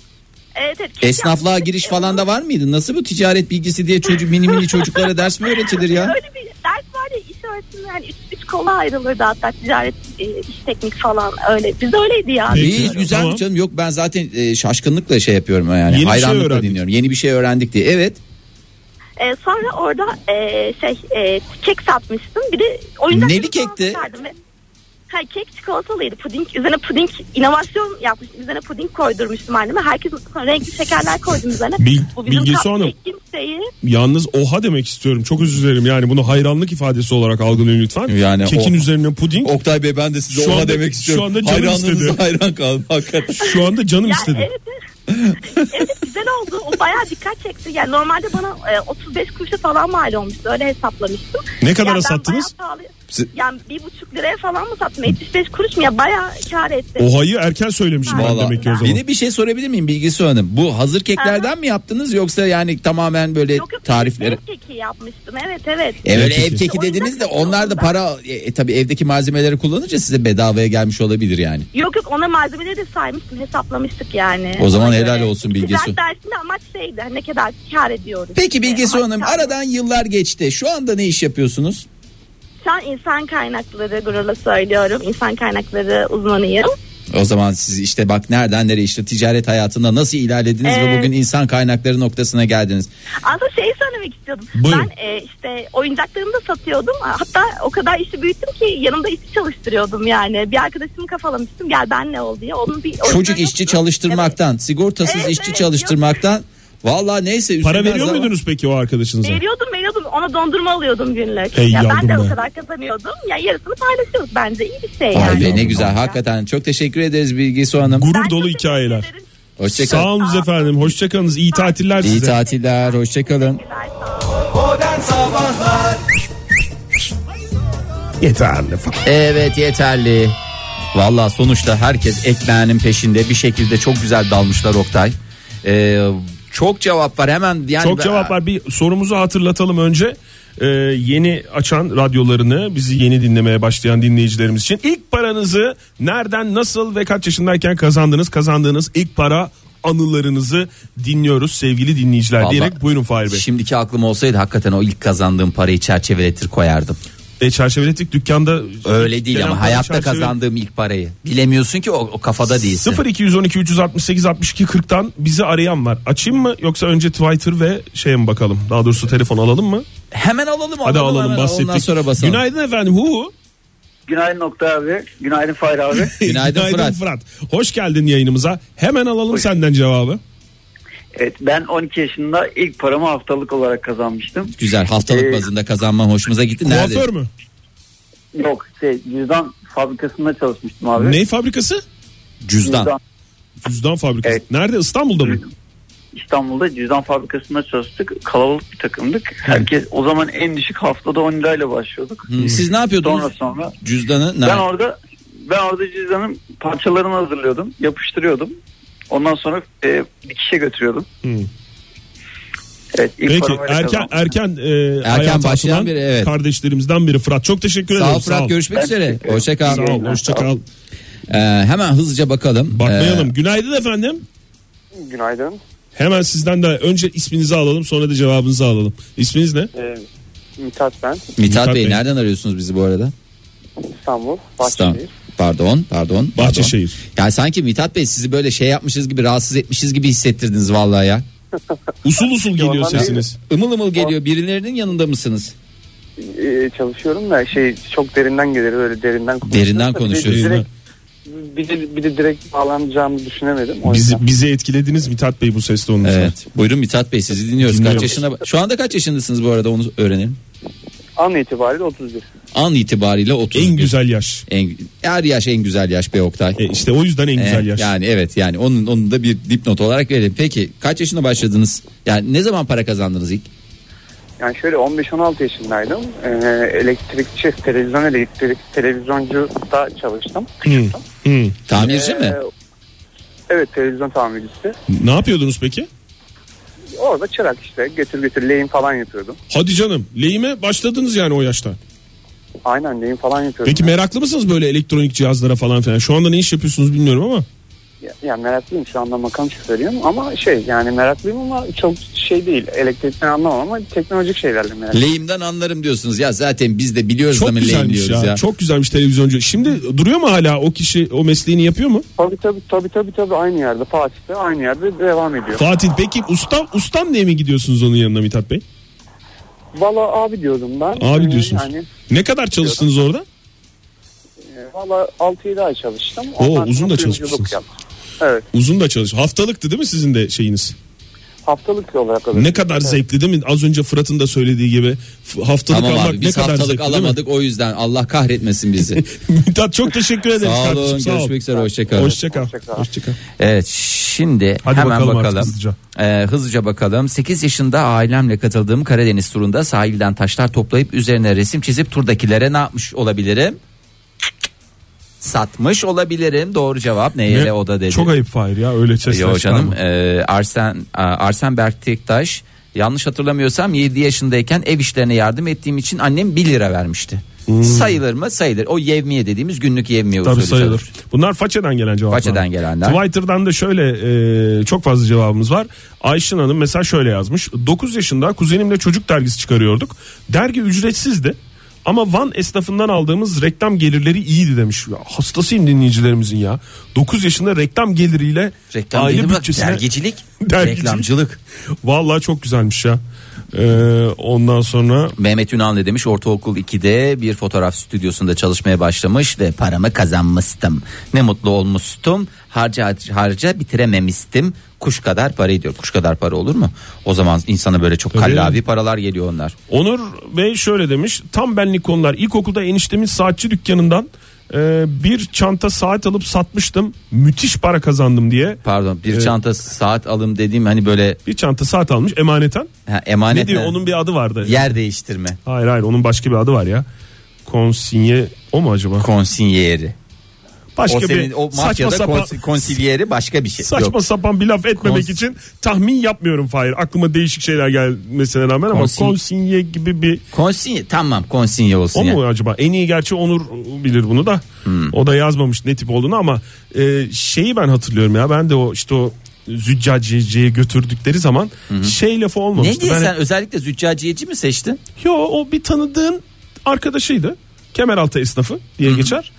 Speaker 4: Evet, evet, kek
Speaker 2: Esnaflığa
Speaker 4: yapmıştık.
Speaker 2: giriş
Speaker 4: E,
Speaker 2: falan da var mıydı? Nasıl bu ticaret bilgisi diye çocuk mini mini çocuklara ders mi öğretilir ya?
Speaker 4: Öyle bir ders vardı iş öğretimi yani üç, üç kola ayrılırdı hatta ticaret e, iş teknik falan öyle. Biz öyleydi ya.
Speaker 1: Peki.
Speaker 2: İyi güzel
Speaker 1: Tamam.
Speaker 2: canım yok ben zaten e, şaşkınlıkla şey yapıyorum yani
Speaker 1: Yeni bir şey
Speaker 2: hayranlıkla
Speaker 1: öğrendik.
Speaker 2: dinliyorum. Yeni bir şey öğrendik diye. Evet.
Speaker 4: E, sonra orada e, şey e, kek satmıştım. Bir de oyuncak
Speaker 2: Neli kekti?
Speaker 4: Ha, kek çikolatalıydı. Puding, üzerine puding inovasyon yapmıştım. Üzerine puding koydurmuştum anneme. Herkes sonra renkli şekerler koydum üzerine.
Speaker 1: Bil-
Speaker 4: bizim
Speaker 1: Bilgisi Hanım.
Speaker 4: cupcake'in şeyi.
Speaker 1: Yalnız oha demek istiyorum. Çok özür dilerim. Yani bunu hayranlık ifadesi olarak algılayın lütfen.
Speaker 2: Yani
Speaker 1: Kekin
Speaker 2: o-
Speaker 1: üzerine puding.
Speaker 2: Oktay Bey ben de size
Speaker 1: Şu
Speaker 2: ona
Speaker 1: anda-
Speaker 2: demek
Speaker 1: şu
Speaker 2: istiyorum.
Speaker 1: anda canım
Speaker 2: Hayranlığınıza
Speaker 1: istedi.
Speaker 2: hayran kaldım hakikaten.
Speaker 1: Şu anda canım
Speaker 4: Ya,
Speaker 1: istedi.
Speaker 4: evet, evet. evet güzel oldu. O bayağı dikkat çekti. Yani normalde bana e, 35 kuruşa falan mal olmuştu. Öyle hesaplamıştım.
Speaker 1: Ne kadara
Speaker 4: ben
Speaker 1: sattınız?
Speaker 4: bayağı pahalı-
Speaker 2: Siz-
Speaker 4: Yani bir buçuk liraya falan mı sattım? 75 kuruş mu ya? Bayağı kar etti.
Speaker 1: Ohayı erken söylemişim ben
Speaker 2: Vallahi.
Speaker 1: demek ki o zaman.
Speaker 2: Bir de bir şey sorabilir miyim Bilgisi Hanım? Bu hazır keklerden mi yaptınız yoksa yani tamamen böyle
Speaker 4: Yok, şey yok,
Speaker 2: tarifleri?
Speaker 4: ev keki yapmıştım. Evet evet.
Speaker 2: E öyle
Speaker 1: Ev
Speaker 2: ev
Speaker 1: keki.
Speaker 2: keki dediniz de onlar da para e, e, tabii evdeki malzemeleri kullanınca size bedavaya gelmiş olabilir yani.
Speaker 4: Yok yok ona malzemeleri de saymıştım hesaplamıştık yani.
Speaker 2: O zaman
Speaker 4: Ona
Speaker 2: helal
Speaker 4: göre.
Speaker 2: olsun Bilge
Speaker 4: Ticaret
Speaker 2: Su.
Speaker 4: dersinde amaç şeydi hani ne kadar kar ediyoruz.
Speaker 2: Peki Bilgisi
Speaker 4: Ee,
Speaker 2: Hanım
Speaker 4: amaç kar.
Speaker 2: aradan yıllar geçti. Şu anda ne iş yapıyorsunuz?
Speaker 4: Şu an insan kaynakları gururla söylüyorum. İnsan kaynakları uzmanıyım.
Speaker 2: O zaman siz işte bak nereden nereye işte ticaret hayatında nasıl ilerlediniz ve
Speaker 4: Evet.
Speaker 2: bugün insan kaynakları noktasına geldiniz.
Speaker 4: Aslında şey söylemek istiyordum.
Speaker 1: Buyurun.
Speaker 4: Ben e, işte oyuncaklarımı da satıyordum. Hatta o kadar işi büyüttüm ki yanımda işçi çalıştırıyordum yani. Bir arkadaşımı kafalamıştım gel benle ol diye. Onun bir
Speaker 2: Çocuk işçi çalıştırmaktan, sigortasız
Speaker 4: Evet,
Speaker 2: işçi
Speaker 4: evet,
Speaker 2: çalıştırmaktan Valla neyse
Speaker 1: Para
Speaker 2: üzülmez
Speaker 1: veriyor
Speaker 2: ama-
Speaker 1: muydunuz peki o arkadaşınıza?
Speaker 4: Veriyordum veriyordum ona dondurma alıyordum günlük.
Speaker 1: Hey
Speaker 4: ya ben de
Speaker 1: yavrum be.
Speaker 4: o kadar kazanıyordum. Ya yarısını paylaşıyoruz bence iyi bir şey
Speaker 2: Vay
Speaker 4: yani.
Speaker 2: be ne güzel hakikaten çok teşekkür ederiz Bilgi Su Hanım.
Speaker 1: Gurur
Speaker 4: Ben çok
Speaker 1: dolu
Speaker 4: teşekkür
Speaker 1: hikayeler.
Speaker 4: ederim.
Speaker 2: Hoşçakalın.
Speaker 1: Sağ olunuz efendim. Hoşçakalınız. İyi tatiller
Speaker 2: İyi
Speaker 1: size.
Speaker 2: tatiller hoşçakalın.
Speaker 4: Teşekkürler, sağ olun.
Speaker 1: Yeterli falan.
Speaker 2: Evet yeterli. Valla sonuçta herkes ekmeğinin peşinde bir şekilde çok güzel dalmışlar Oktay. Ee, çok cevap var hemen yani
Speaker 1: Çok cevap var. Bir sorumuzu hatırlatalım önce. Ee, yeni açan radyolarını bizi yeni dinlemeye başlayan dinleyicilerimiz için ilk paranızı nereden nasıl ve kaç yaşındayken kazandınız kazandığınız ilk para anılarınızı dinliyoruz sevgili dinleyiciler
Speaker 2: Vallahi-
Speaker 1: diyerek buyurun Fahir Bey.
Speaker 2: Şimdiki aklım olsaydı hakikaten o ilk kazandığım parayı çerçeveletir koyardım.
Speaker 1: E, çerçeveletik dükkanda
Speaker 2: Öyle değil
Speaker 1: Gelen
Speaker 2: ama
Speaker 1: para
Speaker 2: hayatta
Speaker 1: çerçeve-
Speaker 2: kazandığım ilk parayı. Bilemiyorsun ki o, o kafada değilsin.
Speaker 1: 0212 368 62 40'tan bizi arayan var. Açayım mı yoksa önce Twitter ve şeye mi bakalım? Daha doğrusu telefon alalım mı?
Speaker 2: Hemen alalım
Speaker 1: Hadi alalım
Speaker 2: hemen,
Speaker 1: bahsettik.
Speaker 2: Ondan sonra basalım.
Speaker 1: Günaydın efendim. Hu.
Speaker 5: Günaydın Oktay abi. Günaydın Fahir abi.
Speaker 2: Günaydın Fırat.
Speaker 1: Hoş geldin yayınımıza. Hemen alalım senden cevabı.
Speaker 5: evet, ben 12 yaşında ilk paramı haftalık olarak kazanmıştım.
Speaker 2: Güzel haftalık
Speaker 5: Ee,
Speaker 2: bazında kazanman hoşumuza gitti. Nerede?
Speaker 1: Kuaför mü?
Speaker 5: Yok şey cüzdan fabrikasında çalışmıştım abi.
Speaker 1: Ney fabrikası?
Speaker 2: Cüzdan.
Speaker 1: Cüzdan fabrikası.
Speaker 5: Evet.
Speaker 1: Nerede? İstanbul'da mı?
Speaker 5: İstanbul'da cüzdan fabrikasında çalıştık. Kalabalık bir takımdık. Herkes o zaman en düşük haftada 10 lirayla başlıyorduk.
Speaker 2: Hı, Siz ne yapıyordunuz?
Speaker 5: Sonra sonra
Speaker 2: Cüzdanı
Speaker 5: ben
Speaker 2: nerede?
Speaker 5: orada ben orada cüzdanın parçalarını hazırlıyordum. Yapıştırıyordum. Ondan sonra e, dikişe götürüyordum.
Speaker 1: Hı.
Speaker 5: Evet, ilk
Speaker 1: Peki
Speaker 5: paramı öyle
Speaker 1: erken
Speaker 5: kazandım.
Speaker 1: erken e,
Speaker 2: Erken
Speaker 1: hayata
Speaker 2: başlayan
Speaker 1: atılan
Speaker 2: biri, evet.
Speaker 1: kardeşlerimizden biri Fırat. Çok teşekkür
Speaker 2: Sağ
Speaker 1: ederim.
Speaker 2: ol Fırat görüşmek
Speaker 5: Ben
Speaker 2: üzere.
Speaker 5: teşekkür ederim.
Speaker 2: Hoşça
Speaker 1: Sağ
Speaker 2: kal.
Speaker 1: ol. Hoşça kal.
Speaker 2: Ee, hemen hızlıca bakalım.
Speaker 1: Bakmayalım.
Speaker 2: Ee,
Speaker 1: Günaydın efendim.
Speaker 6: Günaydın.
Speaker 1: Hemen sizden de önce isminizi alalım sonra da cevabınızı alalım. İsminiz ne?
Speaker 6: Ee, Mithat ben.
Speaker 2: Mithat
Speaker 1: Mithat
Speaker 2: Bey
Speaker 1: Bey.
Speaker 2: nereden arıyorsunuz bizi bu arada?
Speaker 6: İstanbul.
Speaker 2: İstanbul.
Speaker 6: Bahçeşehir.
Speaker 2: Pardon, pardon. pardon.
Speaker 1: Bahçeşehir.
Speaker 2: Yani sanki Mithat Bey sizi böyle şey yapmışız gibi rahatsız etmişiz gibi hissettirdiniz vallahi ya.
Speaker 1: Usul usul geliyor
Speaker 6: Ondan
Speaker 1: sesiniz.
Speaker 2: Imıl ımıl geliyor. Birilerinin yanında mısınız?
Speaker 6: Ee, çalışıyorum da şey çok derinden gelir öyle derinden
Speaker 2: Derinden konuşuyorsun.
Speaker 6: Bir de direkt, bir de, bir de direkt bağlanacağımı düşünemedim. O
Speaker 1: Bizi,
Speaker 6: yüzden.
Speaker 1: bizi etkilediniz Mithat Bey bu sesle onun için.
Speaker 2: Evet. Buyurun Mithat Bey sizi dinliyoruz. Kaç
Speaker 1: Dinliyorum.
Speaker 2: yaşına Şu anda kaç yaşındasınız bu arada onu öğrenelim.
Speaker 6: An itibariyle 31.
Speaker 2: An itibariyle 30.
Speaker 1: En güzel yaş.
Speaker 2: En, her yaş en güzel yaş be Oktay.
Speaker 1: E işte o yüzden en güzel
Speaker 2: Eh,
Speaker 1: yaş.
Speaker 2: Yani evet yani onun onun da bir dipnot olarak verelim. Peki kaç yaşında başladınız? Yani ne zaman para kazandınız ilk?
Speaker 6: Yani şöyle 15-16 yaşındaydım. Ee, elektrikçi, televizyon elektrik, televizyoncu da çalıştım.
Speaker 1: Hı, hı.
Speaker 2: Tamirci mi?
Speaker 6: Ee, Evet televizyon tamircisi.
Speaker 1: Ne yapıyordunuz peki?
Speaker 6: Orada çırak işte götür götür lehim falan yapıyordum.
Speaker 1: Hadi canım lehime başladınız yani o yaşta.
Speaker 6: Aynen lehim falan yapıyordum.
Speaker 1: Peki meraklı mısınız böyle elektronik cihazlara falan filan? Şu anda ne iş yapıyorsunuz bilmiyorum ama.
Speaker 6: Ya, ya meraklıyım şu anda makam şoförüyüm ama şey yani meraklıyım ama çok şey değil. Elektrikten anlamam ama teknolojik şeylerle
Speaker 5: Eh,
Speaker 6: meraklıyım.
Speaker 2: Lehimden anlarım diyorsunuz. Ya zaten biz de biliyoruz da
Speaker 1: Çok
Speaker 2: mı lehim
Speaker 1: güzelmiş ya.
Speaker 2: diyoruz ya.
Speaker 1: Çok güzelmiş televizyoncu. Şimdi duruyor mu hala o kişi o mesleğini yapıyor mu?
Speaker 6: Tabii tabii tabii tabii tabii aynı yerde Fatih'te aynı yerde devam ediyor.
Speaker 1: Fatih peki ustam ustam diye mi gidiyorsunuz onun yanına Mithat Bey?
Speaker 6: Valla abi diyordum ben.
Speaker 1: Abi
Speaker 6: Ee,
Speaker 1: diyorsunuz.
Speaker 6: Yani
Speaker 1: Ne kadar çalıştınız orada?
Speaker 6: e, valla 6-7 ay çalıştım.
Speaker 1: Oo,
Speaker 6: Ondan
Speaker 1: uzun
Speaker 6: sonra
Speaker 1: da
Speaker 6: kuyumculuk
Speaker 1: çalışmışsınız.
Speaker 6: yaptım. Evet
Speaker 1: Uzun da çalış. Haftalıktı değil mi sizin de şeyiniz?
Speaker 6: haftalık olarak
Speaker 1: Ne kadar
Speaker 6: Evet.
Speaker 1: zevkli değil mi? Az önce Fırat'ın da söylediği gibi f- haftalık
Speaker 2: Tamam
Speaker 1: almak
Speaker 2: abi
Speaker 1: ne
Speaker 2: biz
Speaker 1: kadar
Speaker 2: haftalık
Speaker 1: zevkli değil
Speaker 2: alamadık o yüzden Allah kahretmesin bizi.
Speaker 1: mi? Mithat çok teşekkür ederiz
Speaker 2: sağ olun
Speaker 1: kardeşim. Sağ ol.
Speaker 2: görüşmek üzere hoşçakalın.
Speaker 1: Hoşça kal.
Speaker 6: Hoşça kal.
Speaker 1: Hoşça kal.
Speaker 2: Evet şimdi
Speaker 1: Hadi
Speaker 2: hemen
Speaker 1: bakalım
Speaker 2: bakalım.
Speaker 1: artık hızlıca.
Speaker 2: Ee, hızlıca bakalım. 8 yaşında ailemle katıldığım Karadeniz turunda sahilden taşlar toplayıp üzerine resim çizip turdakilere ne yapmış olabilirim? Satmış olabilirim. Doğru cevap neyle
Speaker 1: Ne?
Speaker 2: o da dedi.
Speaker 1: Çok ayıp Fahir ya öyle sesler
Speaker 2: Yo canım
Speaker 1: çıkarma.
Speaker 2: e, Arsen a- Arsen Berk Tektaş yanlış hatırlamıyorsam 7 yaşındayken ev işlerine yardım ettiğim için annem 1 lira vermişti. Sayılır mı? Sayılır. O yevmiye dediğimiz günlük yevmiye
Speaker 1: Hmm. Tabii
Speaker 2: usulü
Speaker 1: sayılır.
Speaker 2: çalışır.
Speaker 1: Bunlar façeden gelen cevaplar.
Speaker 2: Façeden gelenler.
Speaker 1: Twitter'dan da şöyle e, çok fazla cevabımız var. Ayşin Hanım mesela şöyle yazmış. 9 yaşında kuzenimle çocuk dergisi çıkarıyorduk. Dergi ücretsizdi. Ama Van esnafından aldığımız reklam gelirleri iyiydi demiş. Ya, hastasıyım dinleyicilerimizin ya. 9 yaşında reklam geliriyle
Speaker 2: Reklam
Speaker 1: aile
Speaker 2: değil mi?
Speaker 1: bütçesine...
Speaker 2: Dergicilik,
Speaker 1: Dergicilik.
Speaker 2: reklamcılık.
Speaker 1: Vallahi çok güzelmiş ya. E, ondan sonra
Speaker 2: Mehmet Ünal ne demiş? Ortaokul 2'de bir fotoğraf stüdyosunda çalışmaya başlamış ve paramı kazanmıştım. Ne mutlu olmuştum. Harca harca bitirememiştim. Kuş kadar para ediyor. Kuş kadar para olur mu? O zaman insana böyle çok kallavi paralar geliyor onlar.
Speaker 1: Onur Bey şöyle demiş. Tam benlik konular. İlkokulda eniştemin saatçi dükkanından e, bir çanta saat alıp satmıştım. Müthiş para kazandım diye.
Speaker 2: Pardon bir
Speaker 1: Evet.
Speaker 2: çanta saat alım dediğim hani böyle
Speaker 1: Bir çanta saat almış emaneten.
Speaker 2: ha,
Speaker 1: Ne
Speaker 2: emanet
Speaker 1: diyor onun bir adı vardı.
Speaker 2: yer değiştirme
Speaker 1: Hayır hayır onun başka bir adı var ya. Konsinye o mu acaba?
Speaker 2: konsinyeri.
Speaker 1: Başka
Speaker 2: o senin
Speaker 1: bir
Speaker 2: o
Speaker 1: saçma
Speaker 2: mafyada
Speaker 1: sapan
Speaker 2: konsi- konsilyeri başka bir şey.
Speaker 1: saçma
Speaker 2: Yok.
Speaker 1: sapan bir laf etmemek
Speaker 2: Kons-
Speaker 1: için tahmin yapmıyorum Fahir. Aklıma değişik şeyler gelmesine rağmen ama
Speaker 2: Konsin-
Speaker 1: konsinye gibi bir
Speaker 2: Konsinye tamam konsinye olsun
Speaker 1: O
Speaker 2: ya.
Speaker 1: mu acaba? En iyi gerçi Onur bilir bunu da.
Speaker 2: Hmm.
Speaker 1: O da yazmamış ne tip olduğunu ama e, şeyi ben hatırlıyorum ya. Ben de o işte o züccaciyeciye götürdükleri zaman şey lafı
Speaker 2: Ne
Speaker 1: olmamıştı.
Speaker 2: diye
Speaker 1: Ben-
Speaker 2: sen özellikle züccaciyeci mi seçtin?
Speaker 1: Yo o bir tanıdığın arkadaşıydı. Kemeraltı esnafı diye geçer.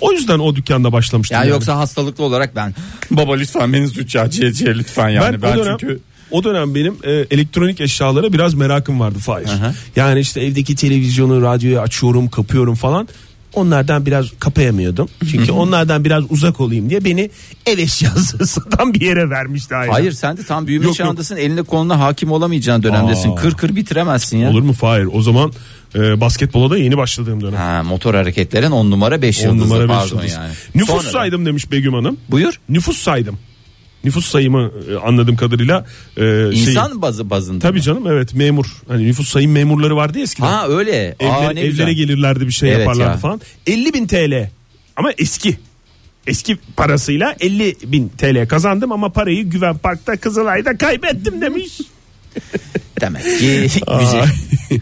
Speaker 1: O yüzden o dükkanda başlamıştım.
Speaker 2: Ya
Speaker 1: yani.
Speaker 2: yoksa hastalıklı olarak ben
Speaker 7: Baba lütfen beni züccaciyeciye lütfen yani.
Speaker 1: ben,
Speaker 7: Ben,
Speaker 1: o dönem,
Speaker 7: çünkü
Speaker 1: o dönem benim e, elektronik eşyalara biraz merakım vardı Fahir. Yani işte evdeki televizyonu, radyoyu açıyorum, kapıyorum falan. Onlardan biraz kapayamıyordum. Çünkü onlardan biraz uzak olayım diye beni ev eşyası satan bir yere vermişti. Hayır.
Speaker 2: hayır sen de tam büyüme
Speaker 1: Yok, yok.
Speaker 2: çağındasın eline koluna hakim olamayacağın dönemdesin.
Speaker 1: Aa.
Speaker 2: Kır kır bitiremezsin ya.
Speaker 1: Olur mu Fahir? O zaman e, basketbola da yeni başladığım dönem.
Speaker 2: Ha, motor hareketlerin 10 numara 5
Speaker 1: On
Speaker 2: yıldızı
Speaker 1: numara beş
Speaker 2: pardon
Speaker 1: yıldız.
Speaker 2: yani.
Speaker 1: Nüfus
Speaker 2: Sonradan-
Speaker 1: saydım demiş Begüm Hanım.
Speaker 2: Buyur.
Speaker 1: Nüfus saydım. Nüfus sayımı e, anladığım kadarıyla e, şey-
Speaker 2: İnsan bazı bazında.
Speaker 1: Tabii canım evet memur. Hani nüfus sayım memurları vardı ya eskiden.
Speaker 2: Ha öyle.
Speaker 1: Evlere,
Speaker 2: Aa, ne
Speaker 1: evlere
Speaker 2: güzel.
Speaker 1: gelirlerdi bir şey
Speaker 2: Evet
Speaker 1: yaparlardı
Speaker 2: ya.
Speaker 1: falan. 50 bin TL ama eski. Eski parasıyla 50 bin TL kazandım ama parayı Güven Park'ta Kızılay'da kaybettim demiş.
Speaker 2: Demek ki güzel.
Speaker 1: Aa,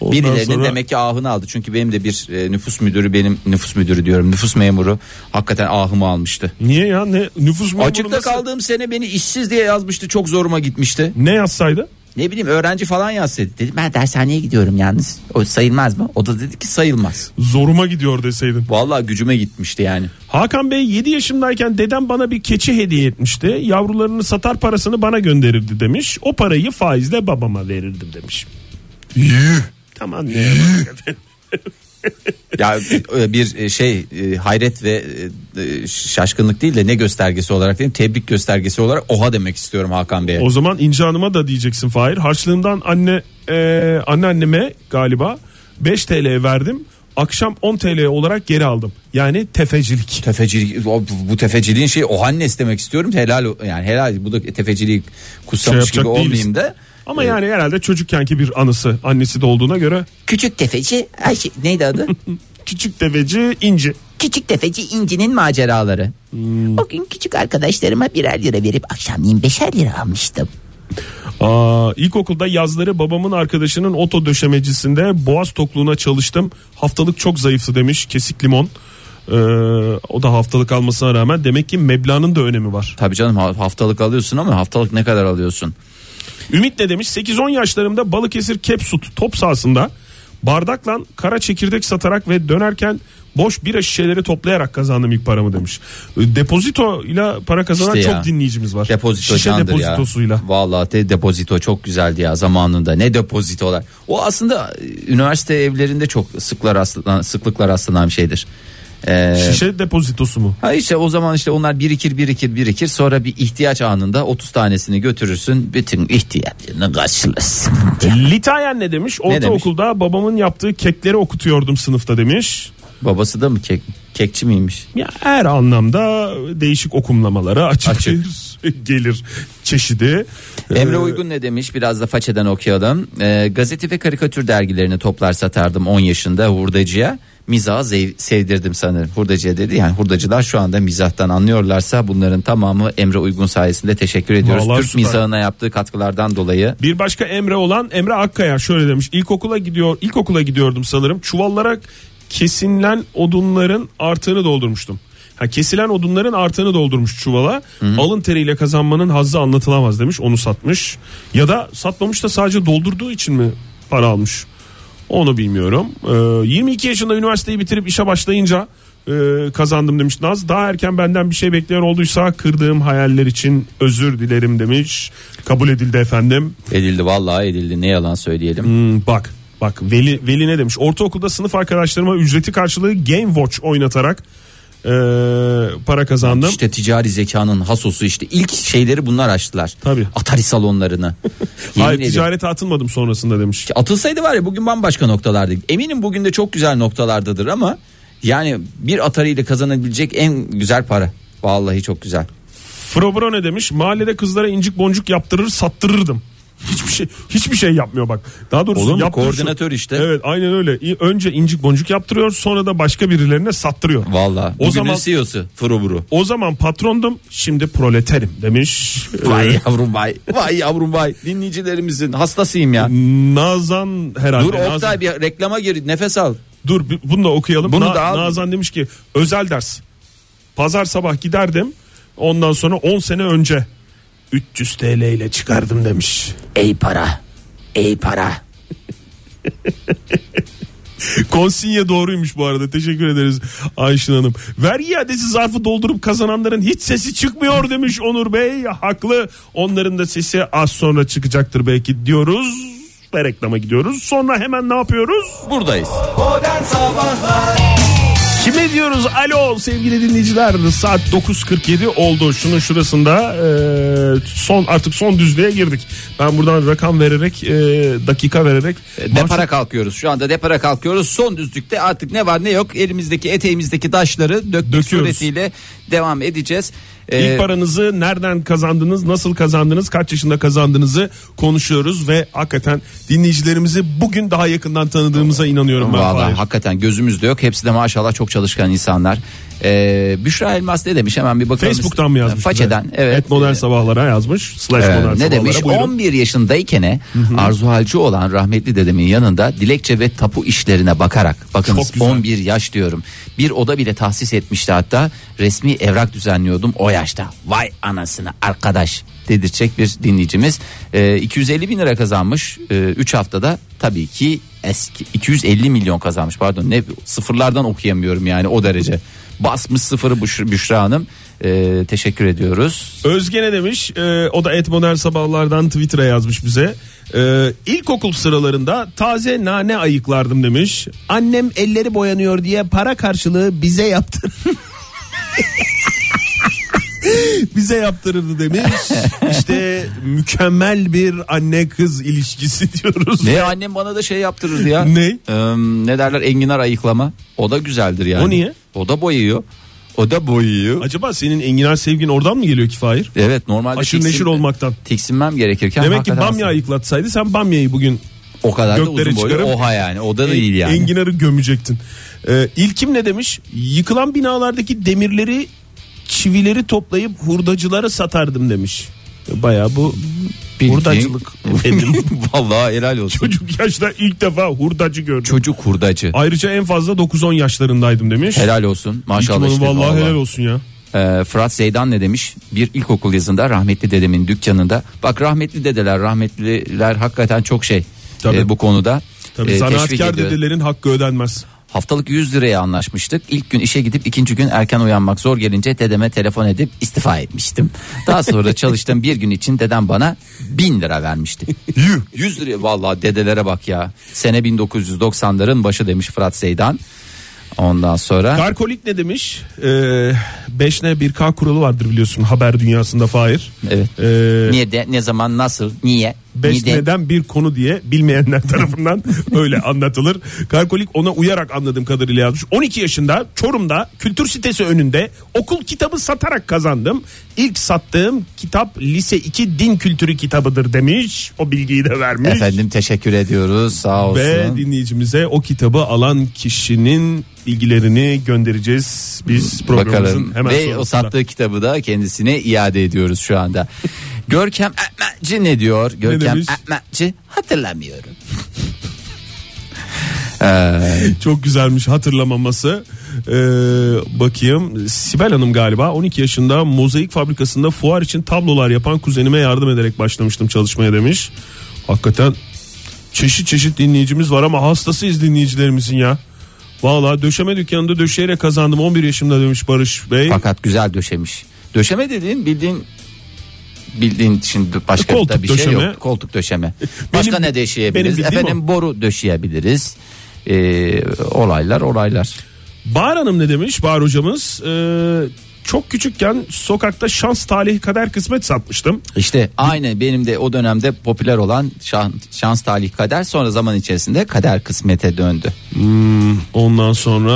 Speaker 1: ondan
Speaker 2: Birilerinin
Speaker 1: sonra-
Speaker 2: demek ki ahını aldı. Çünkü benim de bir e, nüfus müdürü benim nüfus müdürü diyorum nüfus memuru hakikaten ahımı almıştı.
Speaker 1: Niye ya ne nüfus memuru
Speaker 2: Açıkta
Speaker 1: nasıl-
Speaker 2: kaldığım sene beni işsiz diye yazmıştı çok zoruma gitmişti.
Speaker 1: Ne yazsaydı?
Speaker 2: Ne bileyim öğrenci falan yazsaydı.
Speaker 3: Dedim ben dershaneye gidiyorum yalnız. O sayılmaz mı? O da dedi ki sayılmaz.
Speaker 1: Zoruma gidiyor deseydin.
Speaker 2: Vallahi gücüme gitmişti yani.
Speaker 1: Hakan Bey 7 yaşımdayken dedem bana bir keçi hediye etmişti. Yavrularını satar parasını bana gönderirdi demiş. O parayı faizle babama verirdim demiş. Tamam ne yapalım efendim.
Speaker 2: Ya e, bir e, şey e, hayret ve e, e, şaşkınlık değil de ne göstergesi olarak diyeyim tebrik göstergesi olarak oha demek istiyorum Hakan Bey'e.
Speaker 1: O zaman İnci Hanım'a da diyeceksin Fahir. Harçlığımdan anne e, anneanneme galiba 5 TL verdim. Akşam 10 TL olarak geri aldım. Yani tefecilik.
Speaker 2: Tefeci o- bu tefeciliğin şey ohannes demek istiyorum. Helal o- yani helal bu da tefeciliği
Speaker 1: Şey
Speaker 2: kutsamış
Speaker 1: yapacak
Speaker 2: gibi
Speaker 1: değiliz.
Speaker 2: olmayayım da.
Speaker 1: Ama yani herhalde çocukkenki bir anısı annesi de olduğuna göre
Speaker 3: Küçük tefeci ay şey, neydi adı?
Speaker 1: küçük tefeci inci.
Speaker 3: küçük tefeci İnci'nin maceraları. O gün küçük arkadaşlarıma birer lira verip akşamleyin beşer lira almıştım.
Speaker 1: Aa, ilkokulda yazları babamın arkadaşının oto döşemecisinde boğaz tokluğuna çalıştım. Haftalık çok zayıftı demiş kesik limon. Ee, o da haftalık almasına rağmen demek ki meblağının da önemi var.
Speaker 2: Tabii canım ha- haftalık alıyorsun ama haftalık ne kadar alıyorsun?
Speaker 1: Ümit ne demiş? 8-10 yaşlarımda Balıkesir Kepsut top sahasında bardakla kara çekirdek satarak ve dönerken boş bira şişeleri toplayarak kazandım ilk paramı demiş. E, Depozito ile para kazanan
Speaker 2: İşte ya.
Speaker 1: çok dinleyicimiz var.
Speaker 2: Depozito
Speaker 1: Şişe
Speaker 2: candır
Speaker 1: depozitosuyla.
Speaker 2: ya. Vallahi de depozito çok güzeldi ya zamanında. Ne depozitolar. O aslında e, üniversite evlerinde çok sıklar rastlanan, sıklıkla rastlanan bir şeydir. Ee,
Speaker 1: Şişe depozitosu mu?
Speaker 2: Ha işte o zaman işte onlar birikir birikir birikir sonra bir ihtiyaç anında 30 tanesini götürürsün bütün ihtiyaçlarını karşılarsın.
Speaker 1: Litayen ne demiş? Ortaokulda babamın yaptığı kekleri okutuyordum sınıfta demiş.
Speaker 2: Babası da mı kek, kekçi miymiş?
Speaker 1: Ya her anlamda değişik okumlamalara açık,
Speaker 2: Açık.
Speaker 1: bir gelir çeşidi.
Speaker 2: Emre
Speaker 1: Ee,
Speaker 2: Uygun ne demiş biraz da façeden okuyalım. Ee, gazete ve karikatür dergilerini toplar satardım 10 yaşında hurdacıya. Mizaha zev- sevdirdim sanırım. Hurdacıya dedi yani hurdacılar şu anda mizahtan anlıyorlarsa bunların tamamı Emre Uygun sayesinde teşekkür ediyoruz.
Speaker 1: Vallahi
Speaker 2: Türk
Speaker 1: süper.
Speaker 2: mizahına yaptığı katkılardan dolayı.
Speaker 1: Bir başka Emre olan Emre Akkaya şöyle demiş. İlkokula gidiyor, ilkokula gidiyordum sanırım. Çuvallara kesilen odunların artığını doldurmuştum. Ha, kesilen odunların artığını doldurmuş çuvala. Alın teriyle kazanmanın hazzı anlatılamaz demiş. Onu satmış. Ya da satmamış da sadece doldurduğu için mi para almış? Onu bilmiyorum. Ee, 22 yaşında üniversiteyi bitirip işe başlayınca e, kazandım demiş Naz. Daha erken benden bir şey bekleyen olduysa kırdığım hayaller için özür dilerim demiş. Kabul edildi efendim.
Speaker 2: Edildi vallahi edildi ne yalan söyleyelim.
Speaker 1: Hmm, bak bak Veli, Veli ne demiş? Ortaokulda sınıf arkadaşlarıma ücreti karşılığı Game Watch oynatarak e, para kazandım.
Speaker 2: İşte ticari zekanın hasosu işte ilk şeyleri bunlar açtılar.
Speaker 1: Tabii.
Speaker 2: Atari salonlarını. Yemin
Speaker 1: Hayır
Speaker 2: ediyorum.
Speaker 1: ticarete atılmadım sonrasında demiş.
Speaker 2: Atılsaydı var ya bugün bambaşka noktalardaydı. Eminim bugün de çok güzel noktalardadır ama yani bir Atari ile kazanabilecek en güzel para. Vallahi çok güzel.
Speaker 1: Frobro ne demiş? Mahallede kızlara incik boncuk yaptırır sattırırdım. Hiçbir şey hiçbir şey yapmıyor bak. Daha doğrusu
Speaker 2: Olur mu?
Speaker 1: yaptırır şu-
Speaker 2: Koordinatör işte.
Speaker 1: Evet aynen öyle. İ- Önce incik boncuk yaptırıyor sonra da başka birilerine sattırıyor.
Speaker 2: Vallahi.
Speaker 1: O
Speaker 2: O
Speaker 1: zaman-
Speaker 2: zaman CEO'su Furuburu.
Speaker 1: O zaman patrondum şimdi proleterim demiş.
Speaker 2: Vay yavrum vay. Vay yavrum vay. Dinleyicilerimizin hastasıyım ya.
Speaker 1: Nazan herhalde.
Speaker 2: Dur
Speaker 1: Nazan.
Speaker 2: Oktay bir reklama gir nefes al.
Speaker 1: Dur bi- bunu da okuyalım.
Speaker 2: Bunu
Speaker 1: Na-
Speaker 2: da al.
Speaker 1: Nazan demiş ki özel ders. Pazar sabah giderdim. Ondan sonra 10 sene önce 300 TL ile çıkardım demiş.
Speaker 3: Ey para. Ey para.
Speaker 1: Konsinye doğruymuş bu arada. Teşekkür ederiz Ayşin Hanım. Vergi iadesi zarfı doldurup kazananların hiç sesi çıkmıyor demiş Onur Bey. Haklı. Onların da sesi az sonra çıkacaktır belki diyoruz. Ve reklama gidiyoruz. Sonra hemen ne yapıyoruz?
Speaker 2: Buradayız.
Speaker 1: Kime diyoruz alo sevgili dinleyiciler saat 9.47 oldu şunun şurasında e, son artık son düzlüğe girdik ben buradan rakam vererek e, dakika vererek
Speaker 2: E, Depara kalkıyoruz. Şu anda depara kalkıyoruz. Son düzlükte artık ne var ne yok elimizdeki eteğimizdeki taşları dökmek
Speaker 1: Döküyoruz.
Speaker 2: suretiyle devam edeceğiz. Ee,
Speaker 1: İlk paranızı nereden kazandınız, nasıl kazandınız, kaç yaşında kazandığınızı konuşuyoruz ve hakikaten dinleyicilerimizi bugün daha yakından tanıdığımıza inanıyorum ben.
Speaker 2: Vallahi
Speaker 1: Fahir.
Speaker 2: hakikaten gözümüzde yok. Hepsi de maşallah çok çalışkan insanlar. Ee, Büşra Elmas ne demiş hemen bir bakalım.
Speaker 1: Facebook'tan mı yazmış?
Speaker 2: Façeden
Speaker 1: bize?
Speaker 2: evet.
Speaker 1: Et modern sabahlara yazmış. Slash
Speaker 2: Ee,
Speaker 1: modern
Speaker 2: ne
Speaker 1: sabahlara.
Speaker 2: demiş?
Speaker 1: Buyurun.
Speaker 2: 11 yaşındayken arzu halcı olan rahmetli dedemin yanında dilekçe ve tapu işlerine bakarak bakınız
Speaker 1: Çok güzel.
Speaker 2: 11 yaş diyorum. Bir oda bile tahsis etmişti hatta resmi evrak düzenliyordum o yaşta. Vay anasını arkadaş. dedirtecek bir dinleyicimiz. E, 250 bin lira kazanmış 3 haftada tabii ki eski 250 milyon kazanmış pardon ne sıfırlardan okuyamıyorum yani o derece. Basmış sıfırı Büş- Büşra Hanım. E, teşekkür ediyoruz.
Speaker 1: Özge ne demiş? Ee, o da et modern sabahlardan Twitter'a yazmış bize. Ee, ilkokul sıralarında taze nane ayıklardım demiş. Annem elleri boyanıyor diye para karşılığı bize yaptır. bize yaptırırdı demiş. İşte mükemmel bir anne kız ilişkisi diyoruz.
Speaker 2: Ne annem bana da şey yaptırırdı ya.
Speaker 1: Ne?
Speaker 2: Eee, ne derler enginar ayıklama. O da güzeldir yani.
Speaker 1: O niye?
Speaker 2: O da boyuyor. O da boyuyor.
Speaker 1: Acaba senin enginar sevgin oradan mı geliyor ki Fahir?
Speaker 2: Evet normalde
Speaker 1: Aşırı
Speaker 2: tiksin-
Speaker 1: neşir olmaktan.
Speaker 2: tiksinmem gerekirken
Speaker 1: Demek ki
Speaker 2: hakikaten
Speaker 1: bamya ayıklatsaydı sen bamyayı bugün
Speaker 2: o kadar da
Speaker 1: göklere
Speaker 2: uzun boylu
Speaker 1: çıkarıp- E,
Speaker 2: oha yani o da değil yani.
Speaker 1: Enginar'ı gömecektin. Ee, ilkim ne demiş? Yıkılan binalardaki demirleri çivileri toplayıp hurdacılara satardım demiş. Baya bu
Speaker 2: Bildiğin-
Speaker 1: hurdacılık dedim.
Speaker 2: Vallahi helal olsun. Çocuk,
Speaker 1: Çocuk yaşta ilk defa hurdacı gördüm.
Speaker 2: hurdacı.
Speaker 1: Ayrıca en fazla 9-10 yaşlarındaydım demiş.
Speaker 2: Helal olsun maşallah
Speaker 1: İlkim
Speaker 2: işte.
Speaker 1: Hanım vallahi
Speaker 2: vallahi.
Speaker 1: helal olsun ya.
Speaker 2: Ee, Fırat Zeydan ne demiş? Bir ilkokul yazında rahmetli dedemin dükkanında. Bak rahmetli dedeler, rahmetliler hakikaten çok şey
Speaker 1: Tabii.
Speaker 2: e, bu konuda.
Speaker 1: Tabii
Speaker 2: e, teşvik
Speaker 1: zanaatkar
Speaker 2: ediyor.
Speaker 1: dedelerin hakkı ödenmez.
Speaker 2: Haftalık 100 liraya anlaşmıştık. İlk gün işe gidip ikinci gün erken uyanmak zor gelince dedeme telefon edip istifa etmiştim. Daha sonra çalıştığım bir gün için dedem bana 1000 lira vermişti. 100 lira vallahi dedelere bak ya. Sene 1990'ların başı demiş Fırat Seydan. Ondan sonra
Speaker 1: Karkolik ne demiş? Ee, 5N 1K kuralı vardır biliyorsun haber dünyasında Fahir.
Speaker 2: evet.
Speaker 1: Ee,
Speaker 2: Niye de ne zaman nasıl niye?
Speaker 1: Beş
Speaker 2: Neden?
Speaker 1: neden bir konu diye bilmeyenler tarafından öyle anlatılır. Karkolik ona uyarak anladığım kadarıyla yazmış. 12 yaşında Çorum'da kültür sitesi önünde okul kitabı satarak kazandım. İlk sattığım kitap lise 2 din kültürü kitabıdır demiş. O bilgiyi de vermiş.
Speaker 2: Efendim teşekkür ediyoruz sağ olsun.
Speaker 1: Ve dinleyicimize o kitabı alan kişinin bilgilerini göndereceğiz. Biz programımızın
Speaker 2: Bakalım.
Speaker 1: hemen
Speaker 2: Ve
Speaker 1: sonrasında.
Speaker 2: o sattığı kitabı da kendisine iade ediyoruz şu anda. Görkem Ekmekçi ne diyor? Görkem
Speaker 1: demiş?
Speaker 2: Ekmekçi hatırlamıyorum.
Speaker 1: Çok güzelmiş hatırlamaması. Ee, bakayım Sibel Hanım galiba 12 yaşında mozaik fabrikasında fuar için tablolar yapan kuzenime yardım ederek başlamıştım çalışmaya demiş. Hakikaten çeşit çeşit dinleyicimiz var ama hastasıyız dinleyicilerimizin ya. Valla döşeme dükkanında döşeyerek kazandım 11 yaşımda demiş Barış Bey.
Speaker 2: Fakat güzel döşemiş. Döşeme dediğin bildiğin bildiğin şimdi başka
Speaker 1: Koltuk
Speaker 2: da bir şey
Speaker 1: döşeme.
Speaker 2: yok. Koltuk döşeme. Başka
Speaker 1: Benim-
Speaker 2: ne
Speaker 1: benim
Speaker 2: döşeyebiliriz?
Speaker 1: bildiğim
Speaker 2: Efendim boru döşeyebiliriz. Ee, olaylar olaylar.
Speaker 1: Bahar Hanım ne demiş Bahar hocamız? Ee, çok küçükken sokakta şans talih kader kısmet satmıştım.
Speaker 2: İşte aynı benim de o dönemde popüler olan şans, şans talih kader sonra zaman içerisinde kader kısmete döndü.
Speaker 1: Ondan sonra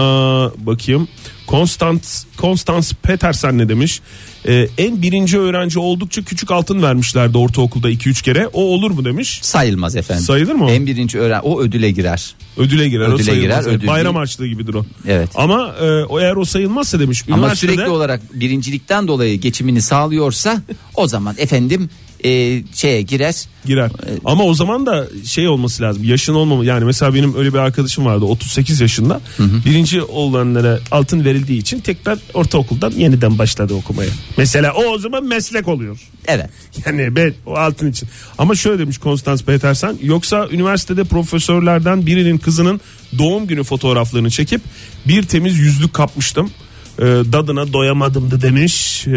Speaker 1: bakayım. Konstans Konstans Petersen ne demiş? Ee, en birinci öğrenci oldukça küçük altın vermişlerdi ortaokulda 2-3 kere. O olur mu demiş?
Speaker 2: Sayılmaz efendim.
Speaker 1: Sayılır mı o?
Speaker 2: En birinci öğren o ödüle girer.
Speaker 1: Ödüle girer. o
Speaker 2: Ödüle
Speaker 1: sayılmaz.
Speaker 2: girer,
Speaker 1: Evet,
Speaker 2: ödül
Speaker 1: Bayram
Speaker 2: değil.
Speaker 1: harçlığı gibidir o.
Speaker 2: Evet.
Speaker 1: Ama e, o eğer o sayılmazsa demiş.
Speaker 2: Ama
Speaker 1: üniversitede-
Speaker 2: sürekli olarak birincilikten dolayı geçimini sağlıyorsa o zaman efendim e, şeye girer.
Speaker 1: girer. Ama o zaman da şey olması lazım. Yaşın olmama yani mesela benim öyle bir arkadaşım vardı 38 yaşında. Birinci olanlara altın verildiği için tekrar ortaokuldan yeniden başladı okumaya. Mesela o o zaman meslek oluyor.
Speaker 2: Evet.
Speaker 1: Yani ben o altın için. Ama şöyle demiş Konstans Petersen. Yoksa üniversitede profesörlerden birinin kızının doğum günü fotoğraflarını çekip bir temiz yüzlük kapmıştım. Ee, dadına doyamadım da demiş ee,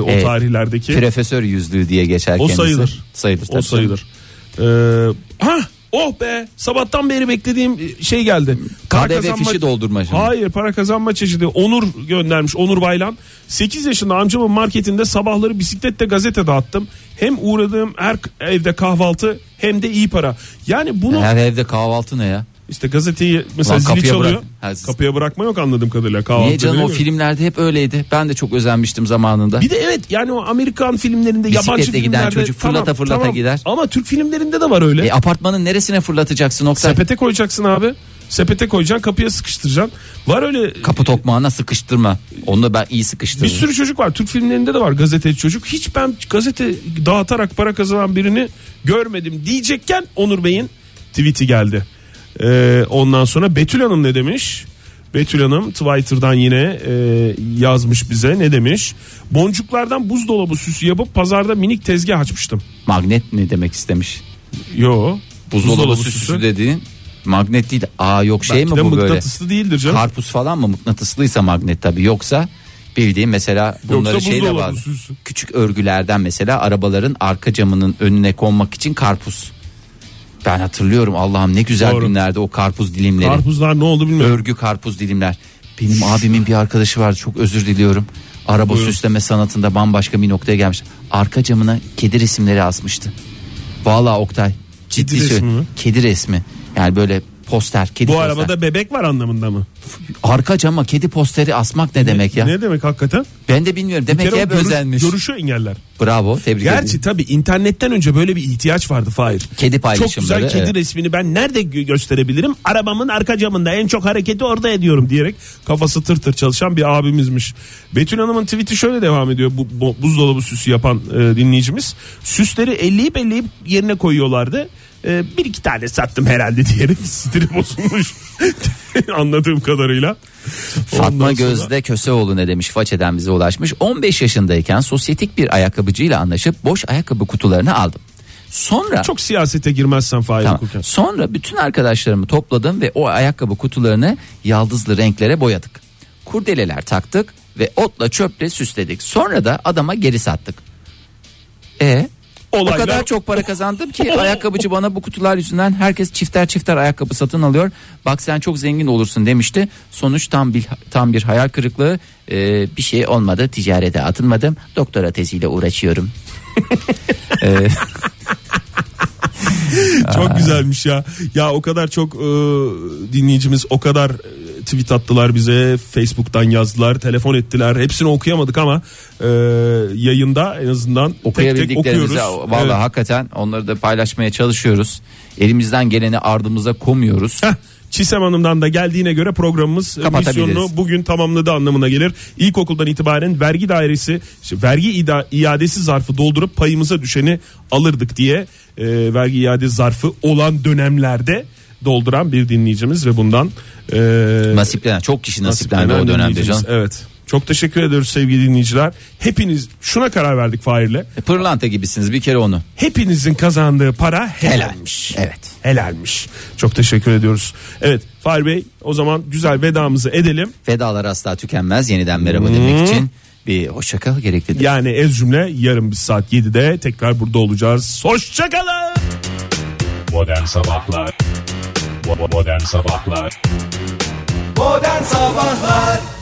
Speaker 1: o
Speaker 2: Evet.
Speaker 1: tarihlerdeki.
Speaker 2: Profesör yüzlüğü diye geçer
Speaker 1: O
Speaker 2: kendisi.
Speaker 1: sayılır.
Speaker 2: Sayılır.
Speaker 1: o
Speaker 2: tabii.
Speaker 1: sayılır. Ee, ha oh be sabahtan beri beklediğim şey geldi.
Speaker 2: KDV fişi doldurma şimdi.
Speaker 1: Hayır para kazanma çeşidi. Onur göndermiş Onur Baylan. 8 yaşında amcamın marketinde sabahları bisikletle gazete dağıttım. Hem uğradığım her evde kahvaltı hem de iyi para. Yani bunu
Speaker 2: Her evde kahvaltı ne ya?
Speaker 1: işte gazeteyi mesela
Speaker 2: Ulan
Speaker 1: zili
Speaker 2: kapıya
Speaker 1: çalıyor.
Speaker 2: bırak- Ha, siz-
Speaker 1: Kapıya bırakma yok anladığım kadarıyla kahvaltı.
Speaker 2: Niye canım o
Speaker 1: değil mi?
Speaker 2: filmlerde hep öyleydi. Ben de çok özenmiştim zamanında.
Speaker 1: Bir de evet yani o Amerikan filmlerinde
Speaker 2: Bisiklete
Speaker 1: yabancı
Speaker 2: giden
Speaker 1: filmlerde
Speaker 2: çocuk fırlata
Speaker 1: tamam,
Speaker 2: fırlata
Speaker 1: tamam.
Speaker 2: gider.
Speaker 1: Ama Türk filmlerinde de var öyle.
Speaker 2: E, apartmanın neresine fırlatacaksın Oktay?
Speaker 1: Sepete koyacaksın abi. Sepete koyacaksın kapıya sıkıştıracaksın. Var öyle
Speaker 2: Kapı tokmağına sıkıştırma. Onu da ben iyi
Speaker 1: bir
Speaker 2: sıkıştırırım.
Speaker 1: sürü çocuk var. Türk filmlerinde de var gazeteci çocuk. Hiç ben gazete dağıtarak para kazanan birini görmedim diyecekken Onur Bey'in tweet'i geldi. Ee, ondan sonra Betül Hanım ne demiş? Ee, Betül Hanım Twitter'dan yine e, yazmış bize ne demiş? Boncuklardan buzdolabı süsü yapıp pazarda minik tezgah açmıştım.
Speaker 2: Magnet ne demek istemiş?
Speaker 1: Yo.
Speaker 2: Buzdolabı süsü dediğin magnet değil. Aa yok şey
Speaker 1: Belki de
Speaker 2: mi bu böyle?
Speaker 1: mıknatıslı değildir canım.
Speaker 2: Karpuz falan mı mıknatıslıysa magnet tabi yoksa bildiğin mesela bunları
Speaker 1: Yoksa
Speaker 2: şeyle
Speaker 1: buzdolabı
Speaker 2: bağlı.
Speaker 1: süsü.
Speaker 2: Küçük örgülerden mesela arabaların arka camının önüne konmak için karpuz. Ben hatırlıyorum Allah'ım ne güzel
Speaker 1: Doğru.
Speaker 2: günlerde o karpuz dilimleri.
Speaker 1: Karpuzlar ne oldu bilmiyorum.
Speaker 2: Örgü karpuz dilimler. Benim abimin bir arkadaşı vardı çok özür diliyorum. Araba süsleme sanatında bambaşka bir noktaya gelmiş. Arka camına kedi resimleri asmıştı. Vallahi Oktay ciddi
Speaker 1: Kedi resmi
Speaker 2: söylüyorum.
Speaker 1: mi?
Speaker 2: Kedi resmi. Yani böyle poster kedi
Speaker 1: Bu
Speaker 2: poster.
Speaker 1: arabada bebek var anlamında mı?
Speaker 2: arka cama kedi posteri asmak ne demek ya?
Speaker 1: Ne demek hakikaten?
Speaker 2: Ben de bilmiyorum. Demek ki
Speaker 1: Kerem
Speaker 2: hep
Speaker 1: görüş-
Speaker 2: özenmiş.
Speaker 1: Görüşü engeller.
Speaker 2: Bravo tebrik
Speaker 1: Gerçi
Speaker 2: ederim.
Speaker 1: tabii internetten önce böyle bir ihtiyaç vardı Fahir.
Speaker 2: Kedi
Speaker 1: Çok
Speaker 2: paylaşımları.
Speaker 1: güzel kedi
Speaker 2: evet.
Speaker 1: resmini ben nerede gö- gösterebilirim? Arabamın arka camında en çok hareketi orada ediyorum diyerek kafası tır tır çalışan bir abimizmiş. Betül Hanım'ın tweet'i şöyle devam ediyor bu, bu- buzdolabı süsü yapan e, dinleyicimiz. Süsleri elleyip elleyip yerine koyuyorlardı. E, bir iki tane sattım herhalde diyerek stili bozulmuş anladığım kadarıyla.
Speaker 2: Fatma
Speaker 1: Ondan sonra-
Speaker 2: Gözde Köseoğlu ne demiş façeden bize ulaşmış. 15 yaşındayken sosyetik bir ayakkabıcıyla anlaşıp boş ayakkabı kutularını aldım. Sonra
Speaker 1: Çok siyasete girmezsen Fahir
Speaker 2: Tamam.
Speaker 1: okurken.
Speaker 2: Sonra bütün arkadaşlarımı topladım ve o ayakkabı kutularını yaldızlı renklere boyadık. Kurdeleler taktık ve otla çöple süsledik. Sonra da adama geri sattık. E o
Speaker 1: Olaylar-
Speaker 2: kadar çok para kazandım ki ayakkabıcı bana bu kutular yüzünden herkes çifter çifter ayakkabı satın alıyor. Bak sen çok zengin olursun demişti. Sonuç tam bir tam bir hayal kırıklığı. Ee, bir şey olmadı. Ticarete atılmadım. Doktora teziyle uğraşıyorum. Ee,
Speaker 1: Çok güzelmiş ya. Ya o kadar çok e, dinleyicimiz o kadar e, tweet attılar bize. Facebook'tan yazdılar, telefon ettiler. Hepsini okuyamadık ama e, yayında en azından tek tek okuyoruz.
Speaker 2: okuyabildiklerimizi vallahi
Speaker 1: Evet.
Speaker 2: hakikaten onları da paylaşmaya çalışıyoruz. Elimizden geleni ardımıza koymuyoruz.
Speaker 1: Heh, Çisem Hanım'dan da geldiğine göre programımız e,
Speaker 2: Kapatabiliriz.
Speaker 1: misyonunu bugün tamamladı anlamına gelir. İlkokuldan itibaren vergi dairesi, işte vergi ida- iadesi zarfı doldurup payımıza düşeni alırdık diye e, vergi iade zarfı olan dönemlerde dolduran bir dinleyicimiz ve bundan e,
Speaker 2: Nasiplenen çok kişi nasiplendi
Speaker 1: Nasiplenen
Speaker 2: o dönemde
Speaker 1: dinleyicimiz.
Speaker 2: canım.
Speaker 1: Evet. Çok teşekkür ediyoruz sevgili dinleyiciler. Hepiniz şuna karar verdik Fahir'le.
Speaker 2: E, Pırlanta gibisiniz bir kere onu.
Speaker 1: Hepinizin kazandığı para helalmiş.
Speaker 2: Evet.
Speaker 1: Helalmiş. Çok teşekkür ediyoruz. Evet Fahir Bey o zaman güzel vedamızı edelim.
Speaker 2: Vedalar asla tükenmez yeniden merhaba demek için bir hoşça kal gereklidir.
Speaker 1: Yani ez cümle yarın bir saat 7'de tekrar burada olacağız. Hoşçakalın.
Speaker 8: Modern Sabahlar Bo- Modern Sabahlar
Speaker 9: Modern Sabahlar